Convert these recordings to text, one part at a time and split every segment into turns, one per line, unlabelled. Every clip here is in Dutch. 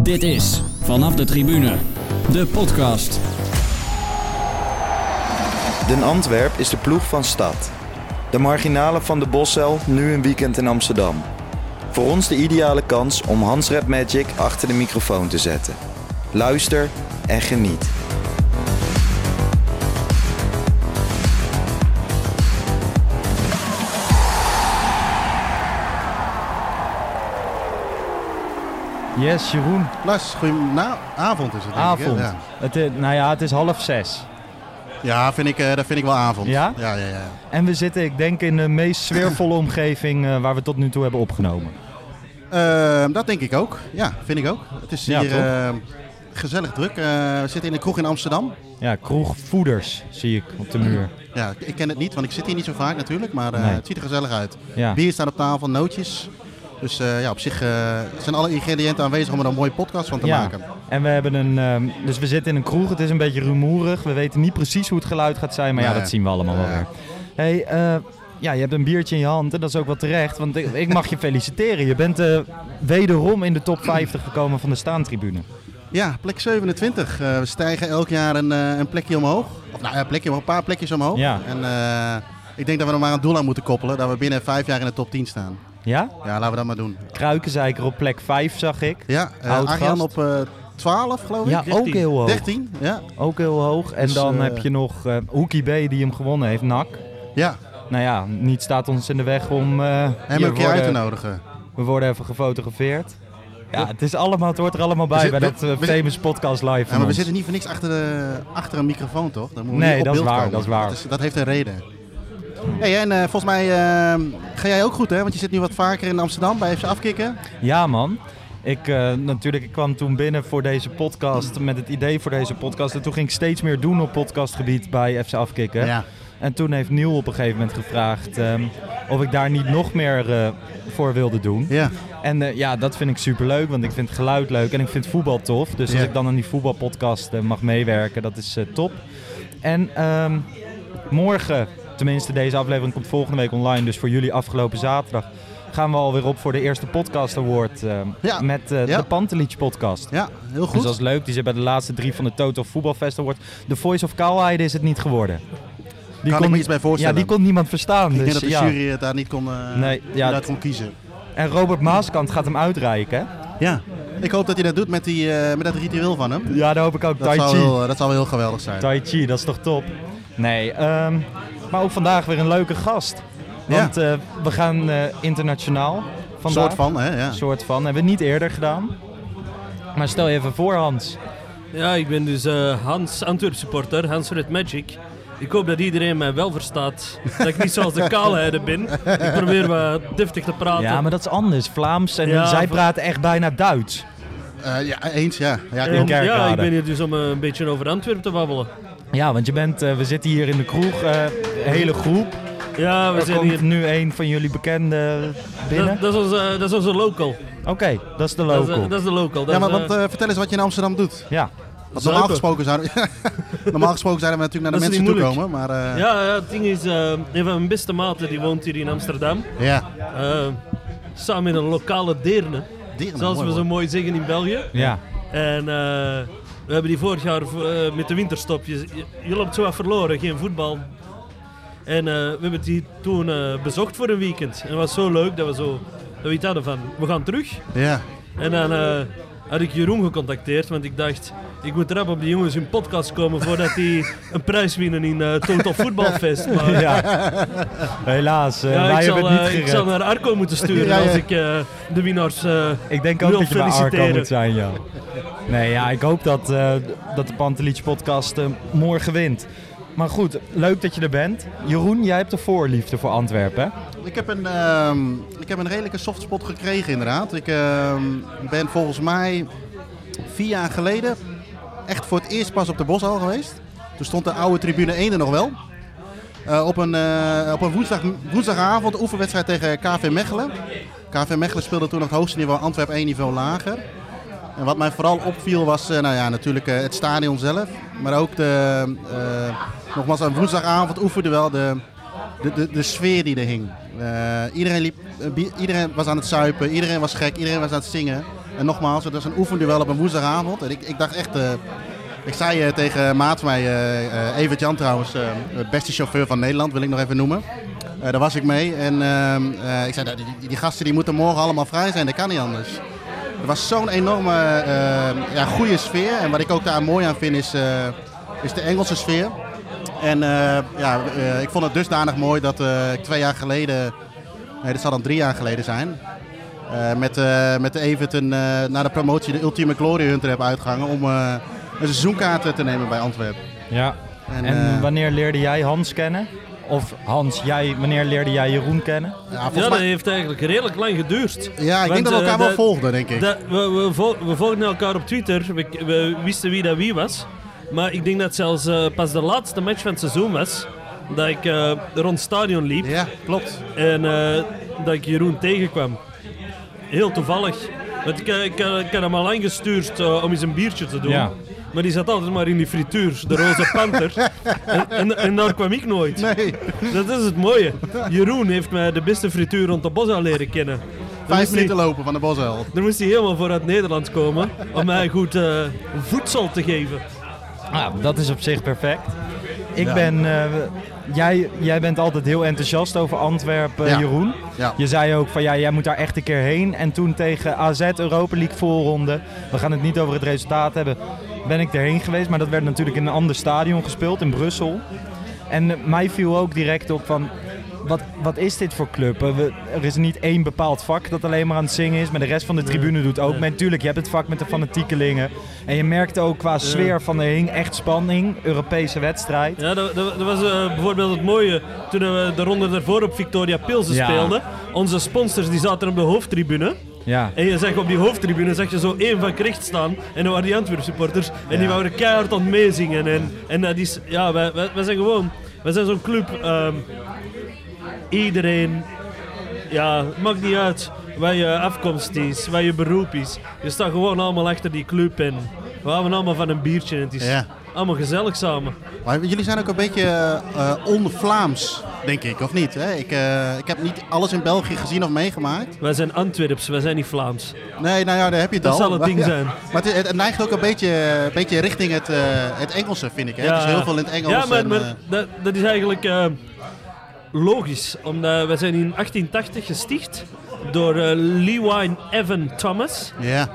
Dit is Vanaf de Tribune, de podcast.
Den Antwerp is de ploeg van stad. De marginalen van de Bossel nu een weekend in Amsterdam. Voor ons de ideale kans om Hans Rap Magic achter de microfoon te zetten. Luister en geniet.
Yes, Jeroen.
Lars, goedenavond is het. denk ik, hè?
Avond.
Ja,
Het is, nou ja, het is half zes.
ja vind ik, eh, dat vind ik wel avond.
Ja?
Ja, ja, ja.
En we zitten, ik denk, in de meest sfeervolle omgeving eh, waar we tot nu toe hebben opgenomen.
Ehm, dat denk ik ook. Ja, vind ik ook. Het is
Ja,
hier
toch?
ehm, gezellig druk. Eh, we zitten in de kroeg in Amsterdam.
Ja, kroegvoeders zie ik op de muur.
Ja, ik- ik ken het niet, want ik zit hier niet zo vaak natuurlijk. Maar eh,
Nee.
het ziet er gezellig uit.
Ja.
Bier staat op tafel, nootjes. Dus eh, ja, op zich eh, zijn alle ingrediënten aanwezig om er een mooie podcast van te
Ja,
maken.
en we hebben een. ehm, dus we zitten in een kroeg, het is een beetje rumoerig. We weten niet precies hoe het geluid gaat zijn, maar ja,
Nee.
dat zien we allemaal wel
Ja.
weer. Hey, eh, ja, je hebt een biertje in je hand en dat is ook wel terecht, want ik, ik mag je feliciteren. Je bent eh, wederom in de top 50 gekomen van de staantribune.
Ja, plek 27. Eh, we stijgen elk jaar een, eh, een plekje omhoog. Of nou, ja, een plekje, maar een paar plekjes omhoog.
Ja.
En eh, ik denk dat we er maar een doel aan moeten koppelen. Dat we binnen vijf jaar in de top 10 staan.
Ja?
Ja, laten we dat maar doen.
Kruikenzeiker op plek 5 zag ik.
Ja, eh,
Oud
Arjan
gast.
op eh 12 geloof ik.
Ja, ook heel hoog.
13, ja.
Ook heel hoog. En
Dus,
dan
eh,
heb je nog eh Hoekie B die hem gewonnen heeft, NAC.
Ja,
Nou ja, niet staat ons in de weg om eh,
hem
hier
een keer uit te
worden,
nodigen.
we worden even gefotografeerd. Ja, het, is allemaal, het hoort er allemaal bij
zit-
bij
we-
dat eh,
we-
famous podcast live
Ja,
van
maar we
ons.
zitten niet voor niks achter, de, achter een microfoon, toch? Dan moeten we
Nee,
hier op
dat is
beeld
waar,
komen.
dat is waar.
Dat, dat heeft een reden. Hey, en eh, volgens mij eh, ga jij ook goed, hè? Want je zit nu wat vaker in Amsterdam bij FC Afkikken.
Ja man, ik, eh, natuurlijk, ik kwam toen binnen voor deze podcast met het idee voor deze podcast. En toen ging ik steeds meer doen op podcastgebied bij FC Afkikken. En toen heeft Niel op een gegeven moment gevraagd ehm, of ik daar niet nog meer eh, voor wilde doen.
ja.
En eh, ja, dat vind ik superleuk, want ik vind het geluid leuk en ik vind voetbal tof. Dus
Ja.
als ik dan aan die voetbalpodcast eh, mag meewerken, dat is eh, top. En ehm, morgen, tenminste deze aflevering komt volgende week online, dus voor jullie afgelopen zaterdag... gaan we alweer op voor de eerste podcast award ehm,
Ja.
met eh,
Ja.
de Pantelich podcast.
ja heel goed.
Dus dat is leuk, die zit bij de laatste drie van de Total Voetbal Fest Award. The Voice of Cowhide is het niet geworden. Die
Kan ik me iets bij voorstellen.
Ja, die kon niemand verstaan.
Ik
dus,
denk dat de
ja.
jury het daar niet kon, eh,
Nee, ja,
uit
het-
kon kiezen.
En Robert Maaskant gaat hem uitreiken. hè?
Ja. Ik hoop dat hij dat doet met, die, eh, met dat ritueel van hem.
Ja, daar hoop ik ook.
Dat
Tai
zal,
Chi.
wel, eh, dat zal wel heel geweldig zijn.
Tai Chi, dat is toch top? Nee, ehm, maar ook vandaag weer een leuke gast. Want eh, we gaan eh, internationaal
Een
vandaag.
soort van, hè? Ja.
Soort van. Hebben we niet eerder gedaan. Maar stel je even voor, Hans.
Ja, ik ben dus eh, Hans, Antwerp supporter, Hans Red Magic. Ik hoop dat iedereen mij wel verstaat. Dat ik niet zoals de kaalheiden ben. Ik probeer wat deftig te praten.
Ja, maar dat is anders. Vlaams en
Ja,
zij
v-
praten echt bijna Duits.
Eh, ja, eens, ja. ja
Om-
klopt.
Kerkrade.
ja, ik ben hier dus om eh, een beetje over Antwerpen te babbelen.
Ja, want je bent, eh, we zitten hier in de kroeg, eh, hele groep.
Ja, we
Er
zijn
komt
hier.
nu een van jullie bekenden binnen.
Dat, dat, is onze, eh, dat is onze local.
Oké, dat is de
Dat, is,
local.
eh, dat is de local. Dat
Ja, maar
is, eh,
want, eh, vertel eens wat je in Amsterdam doet.
Ja,
Want normaal
zuipen.
gesproken zouden, normaal gesproken zouden we natuurlijk naar de
Dat is
mensen toe
niet
komen. Maar eh, ja.
ja, ja, het ding is, eh, een van mijn beste maten die woont hier in Amsterdam. Eh, samen met een lokale deerne.
Deerne,
zoals
mooi
we zo
woord.
mooi zeggen in België.
ja.
En eh, we hebben die vorig jaar eh, met de winterstop. Je, je, je loopt zo wat verloren, geen voetbal. En eh, we hebben die toen eh, bezocht voor een weekend. En het was zo leuk dat we zo dat we iets hadden van, we gaan terug.
ja.
En dan eh, had ik Jeroen gecontacteerd, want ik dacht, ik moet rap op die jongens hun podcast komen voordat die een prijs winnen in eh, Total Voetbalfest. Maar ja,
ja. Helaas, eh,
ik,
wij
zal,
hebben het niet
eh, ik
gered.
zal naar Arco moeten sturen
Ja, ja.
als ik eh, de winnaars... eh,
Ik denk ook
wil
dat je bij Arco
feliciteren.
moet zijn, ja. Nee, ja, ik hoop dat, eh, dat de Pantelietje podcast eh, morgen wint. Maar goed, leuk dat je er bent. Jeroen, jij hebt de voorliefde voor Antwerpen, hè?
Ik heb, een, ehm, ik heb een redelijke softspot gekregen inderdaad. Ik ehm, ben volgens mij vier jaar geleden echt voor het eerst pas op de Boshal geweest. Toen stond de oude tribune 1 er nog wel. Eh, op een, eh, op een woensdag, woensdagavond oefenwedstrijd tegen KV Mechelen. KV Mechelen speelde toen op het hoogste niveau, Antwerp 1 niveau lager. En wat mij vooral opviel was eh, nou ja, natuurlijk eh, het stadion zelf. Maar ook de, eh, nogmaals een woensdagavond oefende wel de, de, de, de sfeer die er hing. Eh, iedereen, liep, eh, bi- iedereen was aan het suipen, iedereen was gek, iedereen was aan het zingen. En nogmaals, het is een oefenduel op een woensdagavond. En ik, ik dacht echt... eh, ik zei eh, tegen maat van mij, eh, eh, Evert Jan trouwens, eh, de beste chauffeur van Nederland, wil ik nog even noemen. Eh, daar was ik mee en ehm, eh, ik zei, "Nou, die, die gasten die moeten morgen allemaal vrij zijn, dat kan niet anders. Er was zo'n enorme eh, ja, goede sfeer en wat ik ook daar mooi aan vind is, eh, is de Engelse sfeer. En eh, ja, eh, ik vond het dusdanig mooi dat eh, ik twee jaar geleden, nee dat zal dan drie jaar geleden zijn, eh, met, eh met Evert een, eh, na de promotie de Ultieme Glory Hunter heb uitgehangen om eh, een seizoenkaart eh, te nemen bij Antwerpen.
Ja. En,
eh,
wanneer leerde jij Hans kennen? Of Hans, jij, wanneer leerde jij Jeroen kennen?
ja, volgens
Ja, dat
mij-
heeft eigenlijk redelijk lang geduurd.
ja, ik
Want,
denk dat we
eh,
elkaar wel
dat-
volgden, denk ik.
Dat, we, we, vol- we volgden elkaar op Twitter. We, we wisten wie dat wie was. Maar ik denk dat het zelfs eh, pas de laatste match van het seizoen was. Dat ik eh, rond het stadion liep
ja, klopt.
en eh, dat ik Jeroen tegenkwam. Heel toevallig. Want ik, eh, ik, eh, ik had hem al aangestuurd eh, om eens een biertje te doen.
Ja.
Maar die zat altijd maar in die frituur, de roze panter. en, en, en daar kwam ik nooit.
Nee,
Dat is het mooie. Jeroen heeft mij de beste frituur rond de bos al leren kennen. Dan
vijf
moest hij-
minuten lopen van de Bosuil.
dan moest hij helemaal voor uit Nederland komen om mij goed eh, voedsel te geven.
Nou, dat is op zich perfect. Ik ben, eh, jij, jij bent altijd heel enthousiast over Antwerpen,
Ja.
Jeroen.
Ja.
Je zei ook van ja, jij moet daar echt een keer heen. En toen tegen AZ Europa League voorronde, we gaan het niet over het resultaat hebben, ben ik erheen geweest. Maar dat werd natuurlijk in een ander stadion gespeeld, in Brussel. En eh, mij viel ook direct op van, wat, wat is dit voor club? Eh, we- er is niet één bepaald vak dat alleen maar aan het zingen is, maar de rest van de tribune doet ook mee. Tuurlijk, je hebt het vak met de fanatiekelingen. En je merkte ook qua sfeer van de hing echt spanning, Europese wedstrijd.
Ja, dat, dat, dat was eh, bijvoorbeeld het mooie toen we de ronde daarvoor op Victoria Pilsen
Ja.
speelden. Onze sponsors die zaten op de hoofdtribune.
Ja.
En je zag op die hoofdtribune zag je zo één van rechts staan. En dan waren die Antwerp supporters. En die wouden keihard aan het meezingen. En, en dat is, ja, wij, wij, wij zijn gewoon, wij zijn zo'n club. ehm, iedereen, ja, het maakt niet uit waar je afkomst is, waar je beroep is. Je staat gewoon allemaal achter die club en we houden allemaal van een biertje. En het is
Ja.
allemaal gezellig samen.
Maar jullie zijn ook een beetje eh, eh, on-Vlaams, denk ik, of niet? Hè? Ik, eh, ik heb niet alles in België gezien of meegemaakt.
Wij zijn Antwerps, wij zijn niet Vlaams.
Nee, nou ja, daar heb je het
Dat
al.
zal het
Maar-
ding
ja.
zijn.
Maar het, het- het neigt ook een beetje, een beetje richting het, eh, het Engelse, vind ik. Hè? Dus heel veel in het Engels.
Ja, maar,
en,
maar
eh,
dat, dat is eigenlijk eh, logisch. Omdat wij zijn in 1880 gesticht door eh Lewine Evan Thomas.
ja.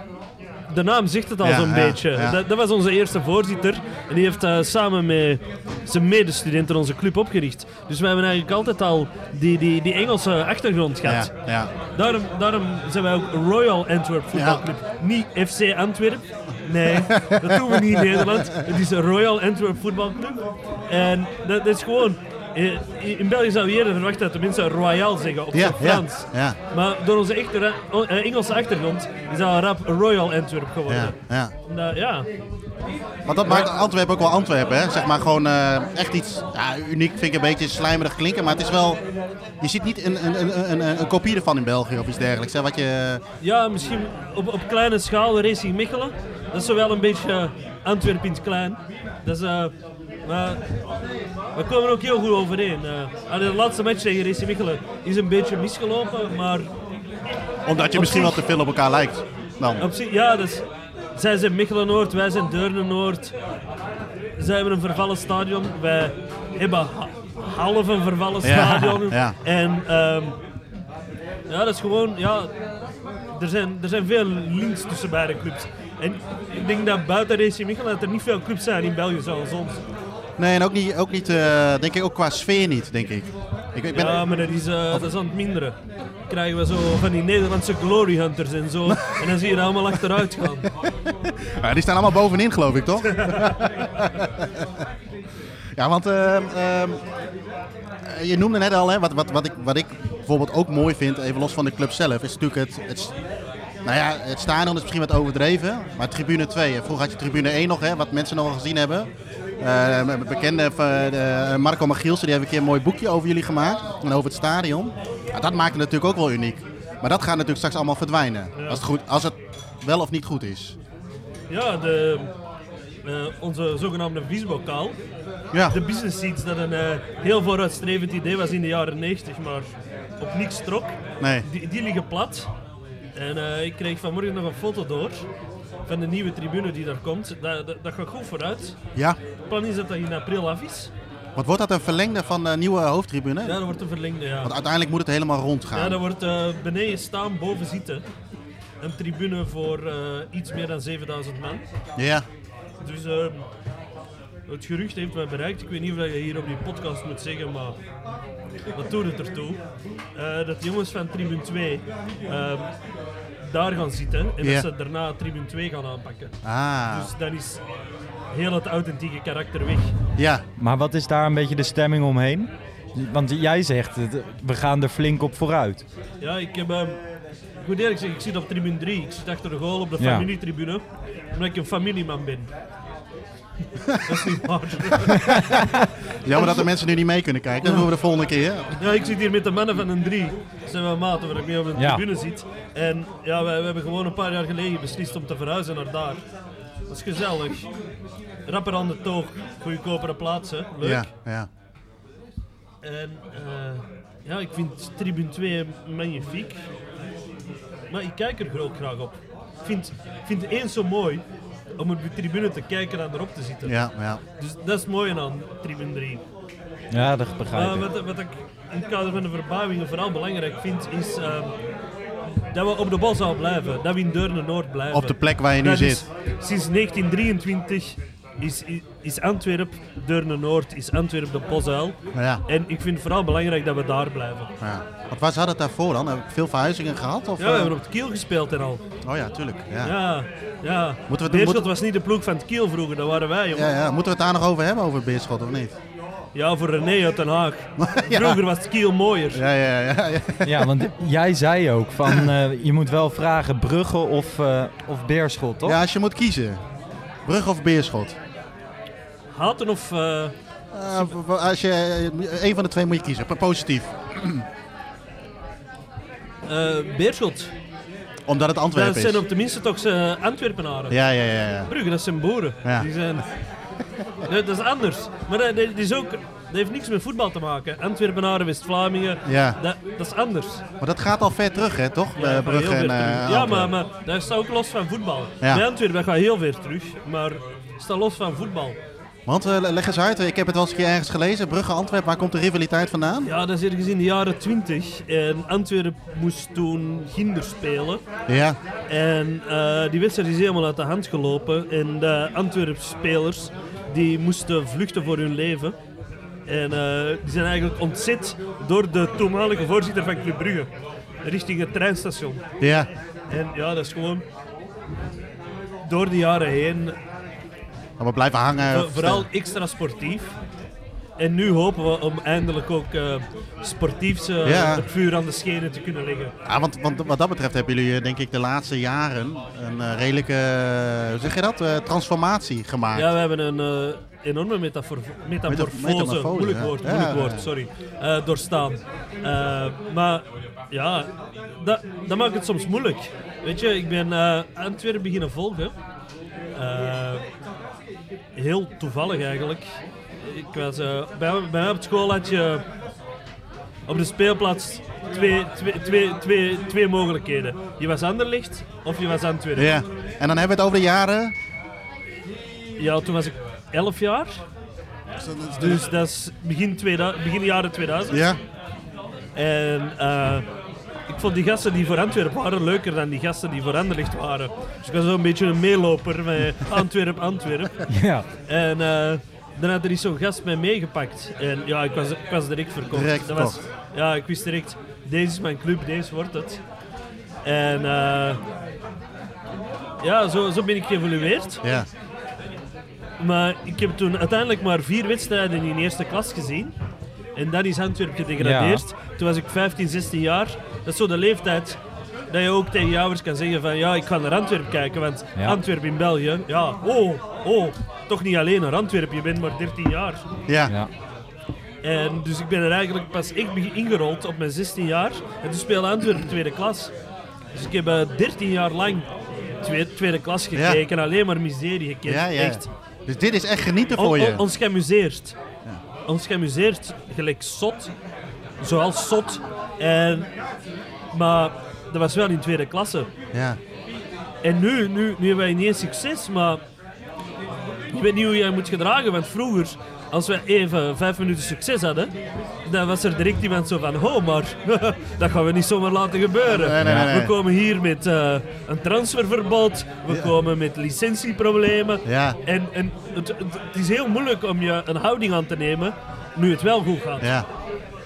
De naam zegt het al
Ja,
zo'n
ja,
beetje.
ja.
Dat, dat was onze eerste voorzitter. En die heeft eh, samen met zijn medestudenten onze club opgericht. Dus wij hebben eigenlijk altijd al die, die, die Engelse achtergrond
Ja,
gehad.
ja.
Daarom, daarom zijn wij ook Royal Antwerp voetbalclub. Niet FC Antwerp. Nee, dat doen we niet in Nederland. Het is een Royal Antwerp voetbalclub. En dat, dat is gewoon... eh, In België zou je eerder verwachten dat de mensen Royal zeggen op
Ja,
zijn
ja,
Frans.
ja,
Maar door onze echte ra- o- eh, Engelse achtergrond is dat rap Royal Antwerp geworden.
ja, ja.
Nou, ja.
Want dat maakt Antwerpen ook wel Antwerpen, hè? Zeg maar gewoon eh, echt iets ja, uniek, vind ik een beetje slijmerig klinken. Maar het is wel, je ziet niet een, een, een, een, een- een kopie ervan in België of iets dergelijks. Hè? Wat je,
ja, misschien op, op kleine schaal Racing Mechelen. Dat is zo wel een beetje eh, Antwerp in het klein. Dat is, eh, maar we komen er ook heel goed overeen. Eh, allee, de laatste match tegen Racing Mechelen is een beetje misgelopen, maar
omdat je
Op
misschien wel
zich-
te veel op elkaar lijkt. Dan.
op zich, ja, dat is, zij zijn Mechelen Noord, wij zijn Deurne Noord. Zij hebben een vervallen stadion, wij hebben ha- half een vervallen
Ja,
stadion.
ja.
En ehm, ja, dat is gewoon, ja, er zijn, er zijn veel links tussen beide clubs. En ik denk dat buiten Racing Mechelen dat er niet veel clubs zijn in België zoals ons.
Nee, en ook niet, ook niet eh, denk ik, ook qua sfeer niet, denk ik. Ik, ik ben,
Ja, maar dat is, eh, dat is aan het minderen. Dan krijgen we zo van die Nederlandse glory hunters en zo. en dan zie je er allemaal achteruit gaan.
Ja, die staan allemaal bovenin, geloof ik, toch? ja, want ehm, ehm, je noemde net al, hè, wat, wat, wat, ik, wat ik bijvoorbeeld ook mooi vind, even los van de club zelf, is natuurlijk het... het nou ja, het stadion is misschien wat overdreven, maar tribune 2. hè, Vroeger had je tribune 1 nog, hè, wat mensen nog wel gezien hebben. Eh, Een bekende van, eh, Marco Magielsen, die heeft een keer een mooi boekje over jullie gemaakt en over het stadion. Ja, dat maakt het natuurlijk ook wel uniek. Maar dat gaat natuurlijk straks allemaal verdwijnen, als, het goed, als het wel of niet goed is.
Ja, de, eh, onze zogenaamde visbokaal.
Ja.
De business seats, dat een eh, heel vooruitstrevend idee was in de jaren 90, maar op niks trok.
Nee.
Die, die liggen plat. En eh, ik kreeg vanmorgen nog een foto door van de nieuwe tribune die daar komt. Dat, dat, dat gaat goed vooruit.
Ja.
Het plan is dat dat in april af is.
Want wordt dat een verlengde van de nieuwe hoofdtribune?
Ja, dat wordt een verlengde,
Want
ja.
uiteindelijk moet het helemaal rond gaan.
Ja, dat wordt eh, beneden staan, boven zitten. Een tribune voor eh, iets meer dan 7000 man.
Ja.
Dus ehm, het gerucht heeft mij bereikt. Ik weet niet of je hier op die podcast moet zeggen, maar dat doet het ertoe. Eh, dat de jongens van Tribune 2 ehm, daar gaan zitten en
Ja.
dat ze daarna Tribune 2 gaan aanpakken.
Ah.
Dus dan is heel het authentieke karakter weg.
Ja.
Maar wat is daar een beetje de stemming omheen? Want jij zegt, het, we gaan er flink op vooruit.
Ja, ik heb... ehm, ik moet eerlijk zeggen, ik zit op tribune 3. Ik zit achter de goal op de
Ja.
familietribune. Omdat ik een familieman ben. dat is niet waar.
Jammer dat de mensen nu niet mee kunnen kijken. Dat doen we de volgende keer.
Ja, ik zit hier met de mannen van een drie. Dat zijn mijn maten waar ik mee op de
Ja.
tribune zit. En ja, wij, wij hebben gewoon een paar jaar geleden beslist om te verhuizen naar daar. Dat is gezellig. Rapper aan de toog, goedkopere plaatsen, leuk.
Ja. ja.
En eh, ja, ik vind Tribune 2 magnifiek. Maar ik kijk er ook graag op. Ik vind, ik vind het eens zo mooi om op de tribune te kijken en erop te zitten.
Ja. ja.
Dus dat is mooi aan Tribune 3.
Ja, dat
Maar
begrijp ik.
Ah, wat, wat ik in het kader van de verbouwingen vooral belangrijk vind, is ehm, dat we op de bal zouden blijven. Dat we in Deurne-Noord blijven.
Op de plek waar je nu
Dat is-
zit.
sinds 1923 is, is, is Antwerp, Deurne-Noord, is Antwerp de Bosuil.
Ja.
En ik vind het vooral belangrijk dat we daar blijven.
ja. Want waar zat het daarvoor dan? Hebben we veel verhuizingen gehad? Of,
Ja, we
eh,
hebben op het Kiel gespeeld en al.
Oh ja, tuurlijk. Ja. Ja.
Ja, ja.
Moeten we-
Beerschot
moeten-
was niet de ploeg van het Kiel vroeger, dat waren wij. jongen.
Ja, Moeten we het daar nog over hebben, over Beerschot of niet?
Ja, voor René uit Den Haag.
Ja.
Vroeger was het Kiel mooier.
Ja, ja, ja. ja.
Ja, want jij zei ook van, eh, je moet wel vragen Brugge of, eh, of Beerschot, toch?
Ja, als je moet kiezen. Brug of Beerschot?
Haten of... eh,
Eh, w- w- als je, eh, een van de twee moet je kiezen. P- Positief.
eh, Beerschot.
Omdat het
Dat
Antwerpen is.
zijn op tenminste toch eh, Antwerpenaren.
Ja, ja, ja. ja.
Brugge, dat zijn boeren.
Ja.
Die zijn... Nee, dat is anders. Maar dat, dat is ook... Dat heeft niks met voetbal te maken. Antwerpenaren, West-Vlamingen,
Ja.
dat, dat is anders.
Maar dat gaat al ver terug, hè, toch? Eh,
Ja, dat gaat
Brugge en
heel ver terug.
eh,
ja,
Antwerpen.
maar, maar dat is ook los van voetbal.
Ja.
Bij Antwerpen gaat heel ver terug, maar staat los van voetbal.
Want eh, leg eens uit, ik heb het wel eens een keer ergens gelezen. Brugge, Antwerpen, waar komt de rivaliteit vandaan?
Ja, dat is ergens in de jaren 20 En Antwerpen moest toen Ginder spelen.
Ja,
En eh, die wedstrijd is helemaal uit de hand gelopen. En de Antwerpse spelers die moesten vluchten voor hun leven. En eh, die zijn eigenlijk ontzet door de toenmalige voorzitter van Club Brugge. Richting het treinstation.
ja.
En ja, dat is gewoon door de jaren heen
Maar Nou, we blijven hangen.
eh, vooral extra sportief. En nu hopen we om eindelijk ook eh, sportief eh,
Ja.
het vuur aan de schenen te kunnen leggen.
Ja, Ah, want, want wat dat betreft hebben jullie eh, denk ik de laatste jaren een eh, redelijke, eh, hoe zeg je dat, Eh, transformatie gemaakt.
Ja, we hebben een eh, enorme metafor metamorfose,
metamorfose,
moeilijk
ja.
woord,
Ja,
moeilijk
ja,
woord,
ja.
sorry, eh, doorstaan. Eh, maar ja, dat, dat maakt het soms moeilijk. Weet je, ik ben eh Antwerpen beginnen volgen. Eh, heel toevallig eigenlijk. Ik was, eh, bij, bij mij op school had je op de speelplaats twee, twee, twee, twee, twee mogelijkheden. Je was Anderlicht of je was Antwerpen.
Ja. En dan hebben we het over de jaren.
Ja, toen was ik 11 jaar. Dus dat is begin, 2000, begin jaren 2000.
Ja,
En eh, ik vond die gasten die voor Antwerpen waren leuker dan die gasten die voor Anderlecht waren. Dus ik was zo'n beetje een meeloper met Antwerp, Antwerp.
Ja.
En eh, dan had er eens zo'n gast mij meegepakt. En ja, ik was, ik was direct verkocht.
Direct
Dat was-
verkocht.
ja, ik wist direct, deze is mijn club, deze wordt het. En eh, ja, zo, zo ben ik geëvolueerd.
ja.
Maar ik heb toen uiteindelijk maar vier wedstrijden in eerste klas gezien. En dan is Antwerpen gedegradeerd. Toen was ik 15, 16 jaar. Dat is zo de leeftijd dat je ook tegen jouwers kan zeggen van ja, ik ga naar Antwerpen kijken. Want
Ja.
Antwerpen in België, ja, oh, oh, toch niet alleen naar Antwerpen. Je bent maar 13 jaar.
ja.
ja.
En dus ik ben er eigenlijk pas echt be- ingerold op mijn 16 jaar. En toen speelde Antwerpen tweede klas. Dus ik heb eh, 13 jaar lang tweede, tweede klas
Ja.
gekeken. en Alleen maar miserie gekend.
Ja, ja.
Echt.
Dus dit is echt genieten voor
On-
je.
on- ons geamuseerd. Ons geamuseerd, gelijk zot. Zoals zot. En, maar dat was wel in tweede klasse.
Ja.
En nu, nu, nu hebben wij niet eens succes, maar ik weet niet hoe jij moet gedragen. Want vroeger, als we even vijf minuten succes hadden, dan was er direct iemand zo van: oh, maar dat gaan we niet zomaar laten gebeuren.
Nee, nee, nee, nee.
We komen hier met eh, een transferverbod, we
Ja.
komen met licentieproblemen.
Ja.
En, en het, het- het is heel moeilijk om je een houding aan te nemen nu het wel goed gaat.
Ja.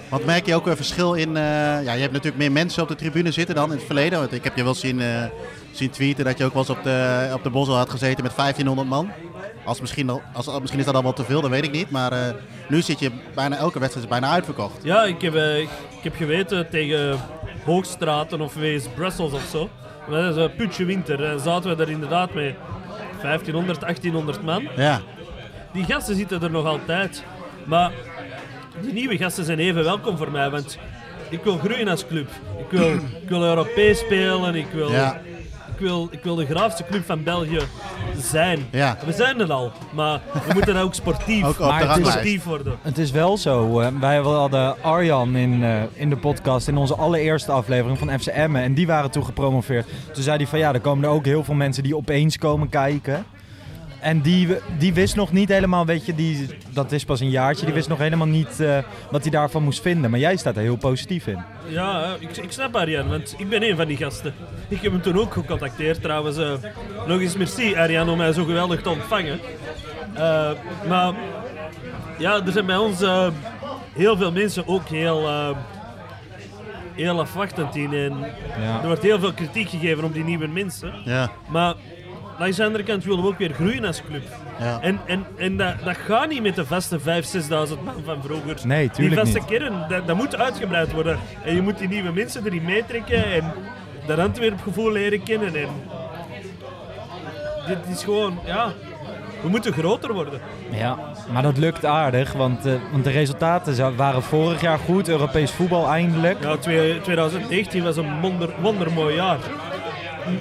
Want merk je ook een verschil in... eh, ja, je hebt natuurlijk meer mensen op de tribune zitten dan in het verleden. Want ik heb je wel zien, eh, zien tweeten dat je ook wel eens op de, op de Bosel had gezeten met 1500 man. Als misschien, al- als, als- misschien is dat al wel te veel, dat weet ik niet. Maar eh, nu zit je bijna elke wedstrijd is bijna uitverkocht.
Ja, ik heb, eh, ik ik heb geweten tegen Hoogstraten of wees Brussels of zo. Maar Dat is een putje winter. En zaten we daar inderdaad mee 1500, 1800 man.
Ja,
Die gasten zitten er nog altijd. Maar die nieuwe gasten zijn even welkom voor mij. Want ik wil groeien als club. Ik wil, ik wil Europees spelen. Ik wil,
Ja.
ik, wil, ik wil de graafste club van België zijn.
Ja.
We zijn het al. Maar we moeten daar ook sportief,
ook op
Maar
de
het is-
ranglijst.
sportief worden.
Het is wel zo. eh, wij hadden Arjan in, eh, in de podcast in onze allereerste aflevering van FCM. En die waren toen gepromoveerd. Toen zei hij van ja, er komen er ook heel veel mensen die opeens komen kijken. En die, w- die wist nog niet helemaal, weet je, die, dat is pas een jaartje, die wist nog helemaal niet eh, wat hij daarvan moest vinden. Maar jij staat er heel positief in.
Ja, ik, ik snap Arjan, want ik ben een van die gasten. Ik heb hem toen ook gecontacteerd trouwens. eh. nog eens merci Arjan om mij zo geweldig te ontvangen. Eh, maar ja, er zijn bij ons eh, heel veel mensen ook heel, eh, heel afwachtend in. En
Ja.
Er wordt heel veel kritiek gegeven op die nieuwe mensen.
Ja,
Maar langs de andere kant willen we ook weer groeien als club.
ja.
En, en, en dat, dat gaat niet met de vaste 5.000, 6.000 man van vroeger.
Nee, tuurlijk
Die
niet.
vaste kern, dat, dat moet uitgebreid worden. En je moet die nieuwe mensen erin meetrekken en dat Antwerp-gevoel leren kennen. En dit is gewoon, ja, we moeten groter worden.
Ja, maar dat lukt aardig, want, eh, want de resultaten za- waren vorig jaar goed. Europees voetbal eindelijk.
Ja, twee- 2019 was een wonder, wondermooi jaar.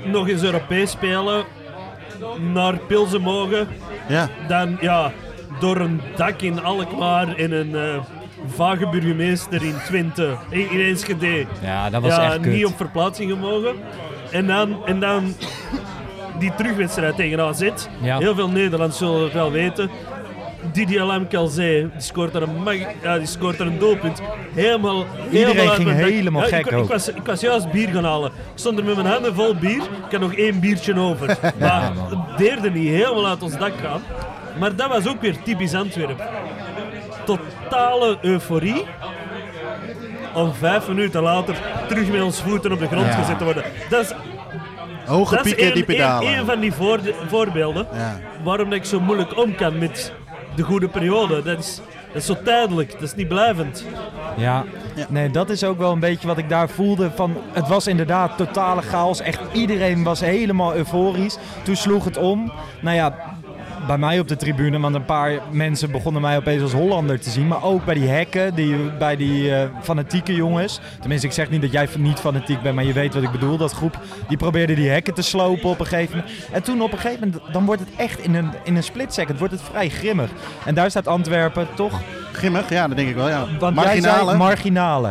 N- Nog eens Europees spelen, naar Pilsen mogen,
ja.
dan ja, door een dak in Alkmaar en een eh, vage burgemeester in Twente, in, in Enschede.
Ja, dat was
ja,
echt kut.
niet op verplaatsing gemogen. En dan, en dan die terugwedstrijd tegen AZ.
Ja.
Heel veel Nederlanders zullen het wel weten. Didier Lamkelzee, die scoort er een, mag- ja, die scoort er een doelpunt. Helemaal, helemaal uit
ging
mijn dak.
helemaal
Ja,
gek
ik,
ook.
Ik was, ik was juist bier gaan halen. Ik stond er met mijn handen vol bier. Ik had nog één biertje over. maar het deerde niet helemaal uit ons dak gaan. Maar dat was ook weer typisch Antwerpen. Totale euforie om vijf minuten later terug met ons voeten op de grond
Ja.
gezet te worden. Dat is,
Hoge
dat is
pieken,
één-
diepe
één-
dalen.
één van die voorde- voorbeelden
Ja.
waarom dat ik zo moeilijk om kan met de goede periode. Dat is, dat is zo tijdelijk, dat is niet blijvend.
Ja, nee, dat is ook wel een beetje wat ik daar voelde. Van, het was inderdaad totale chaos. Echt iedereen was helemaal euforisch. Toen sloeg het om. Nou ja, bij mij op de tribune, want een paar mensen begonnen mij opeens als Hollander te zien. Maar ook bij die hekken, die, bij die eh, fanatieke jongens. Tenminste, ik zeg niet dat jij niet fanatiek bent, maar je weet wat ik bedoel. Dat groep, die probeerde die hekken te slopen op een gegeven moment. En toen op een gegeven moment, dan wordt het echt in een, in een split second, wordt het vrij grimmig. En daar staat Antwerpen toch,
Grimmig, ja, dat denk ik wel. Ja.
want jij
Marginale.
zei marginale.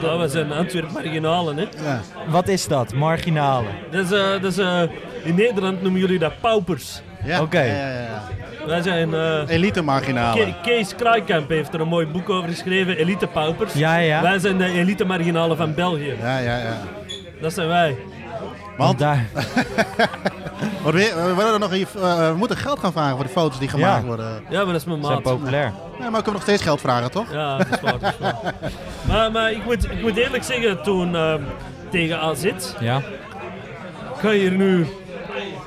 Dat was een Antwerp marginalen. Hè?
ja.
Wat is dat? Marginale.
Dat is, eh, dat is, eh, in Nederland noemen jullie dat paupers.
Ja,
Oké.
ja, ja, ja.
Wij zijn, eh,
Elite marginale.
Ke- Kees Kraaikamp heeft er een mooi boek over geschreven, Elite Paupers.
Ja, ja.
Wij zijn de elite marginalen van België.
Ja, ja, ja.
Dat zijn wij.
Want daar,
Wat we, we, willen nog even, eh, we moeten geld gaan vragen voor de foto's die gemaakt
Ja.
worden.
Ja, maar dat is mijn
zijn
maat.
populair.
Ja, maar we kunnen nog steeds geld vragen, toch?
Ja, dat is waar. dat is waar. maar maar ik, moet, ik moet eerlijk zeggen, toen ehm, tegen AZ, ik
Ja.
ga hier nu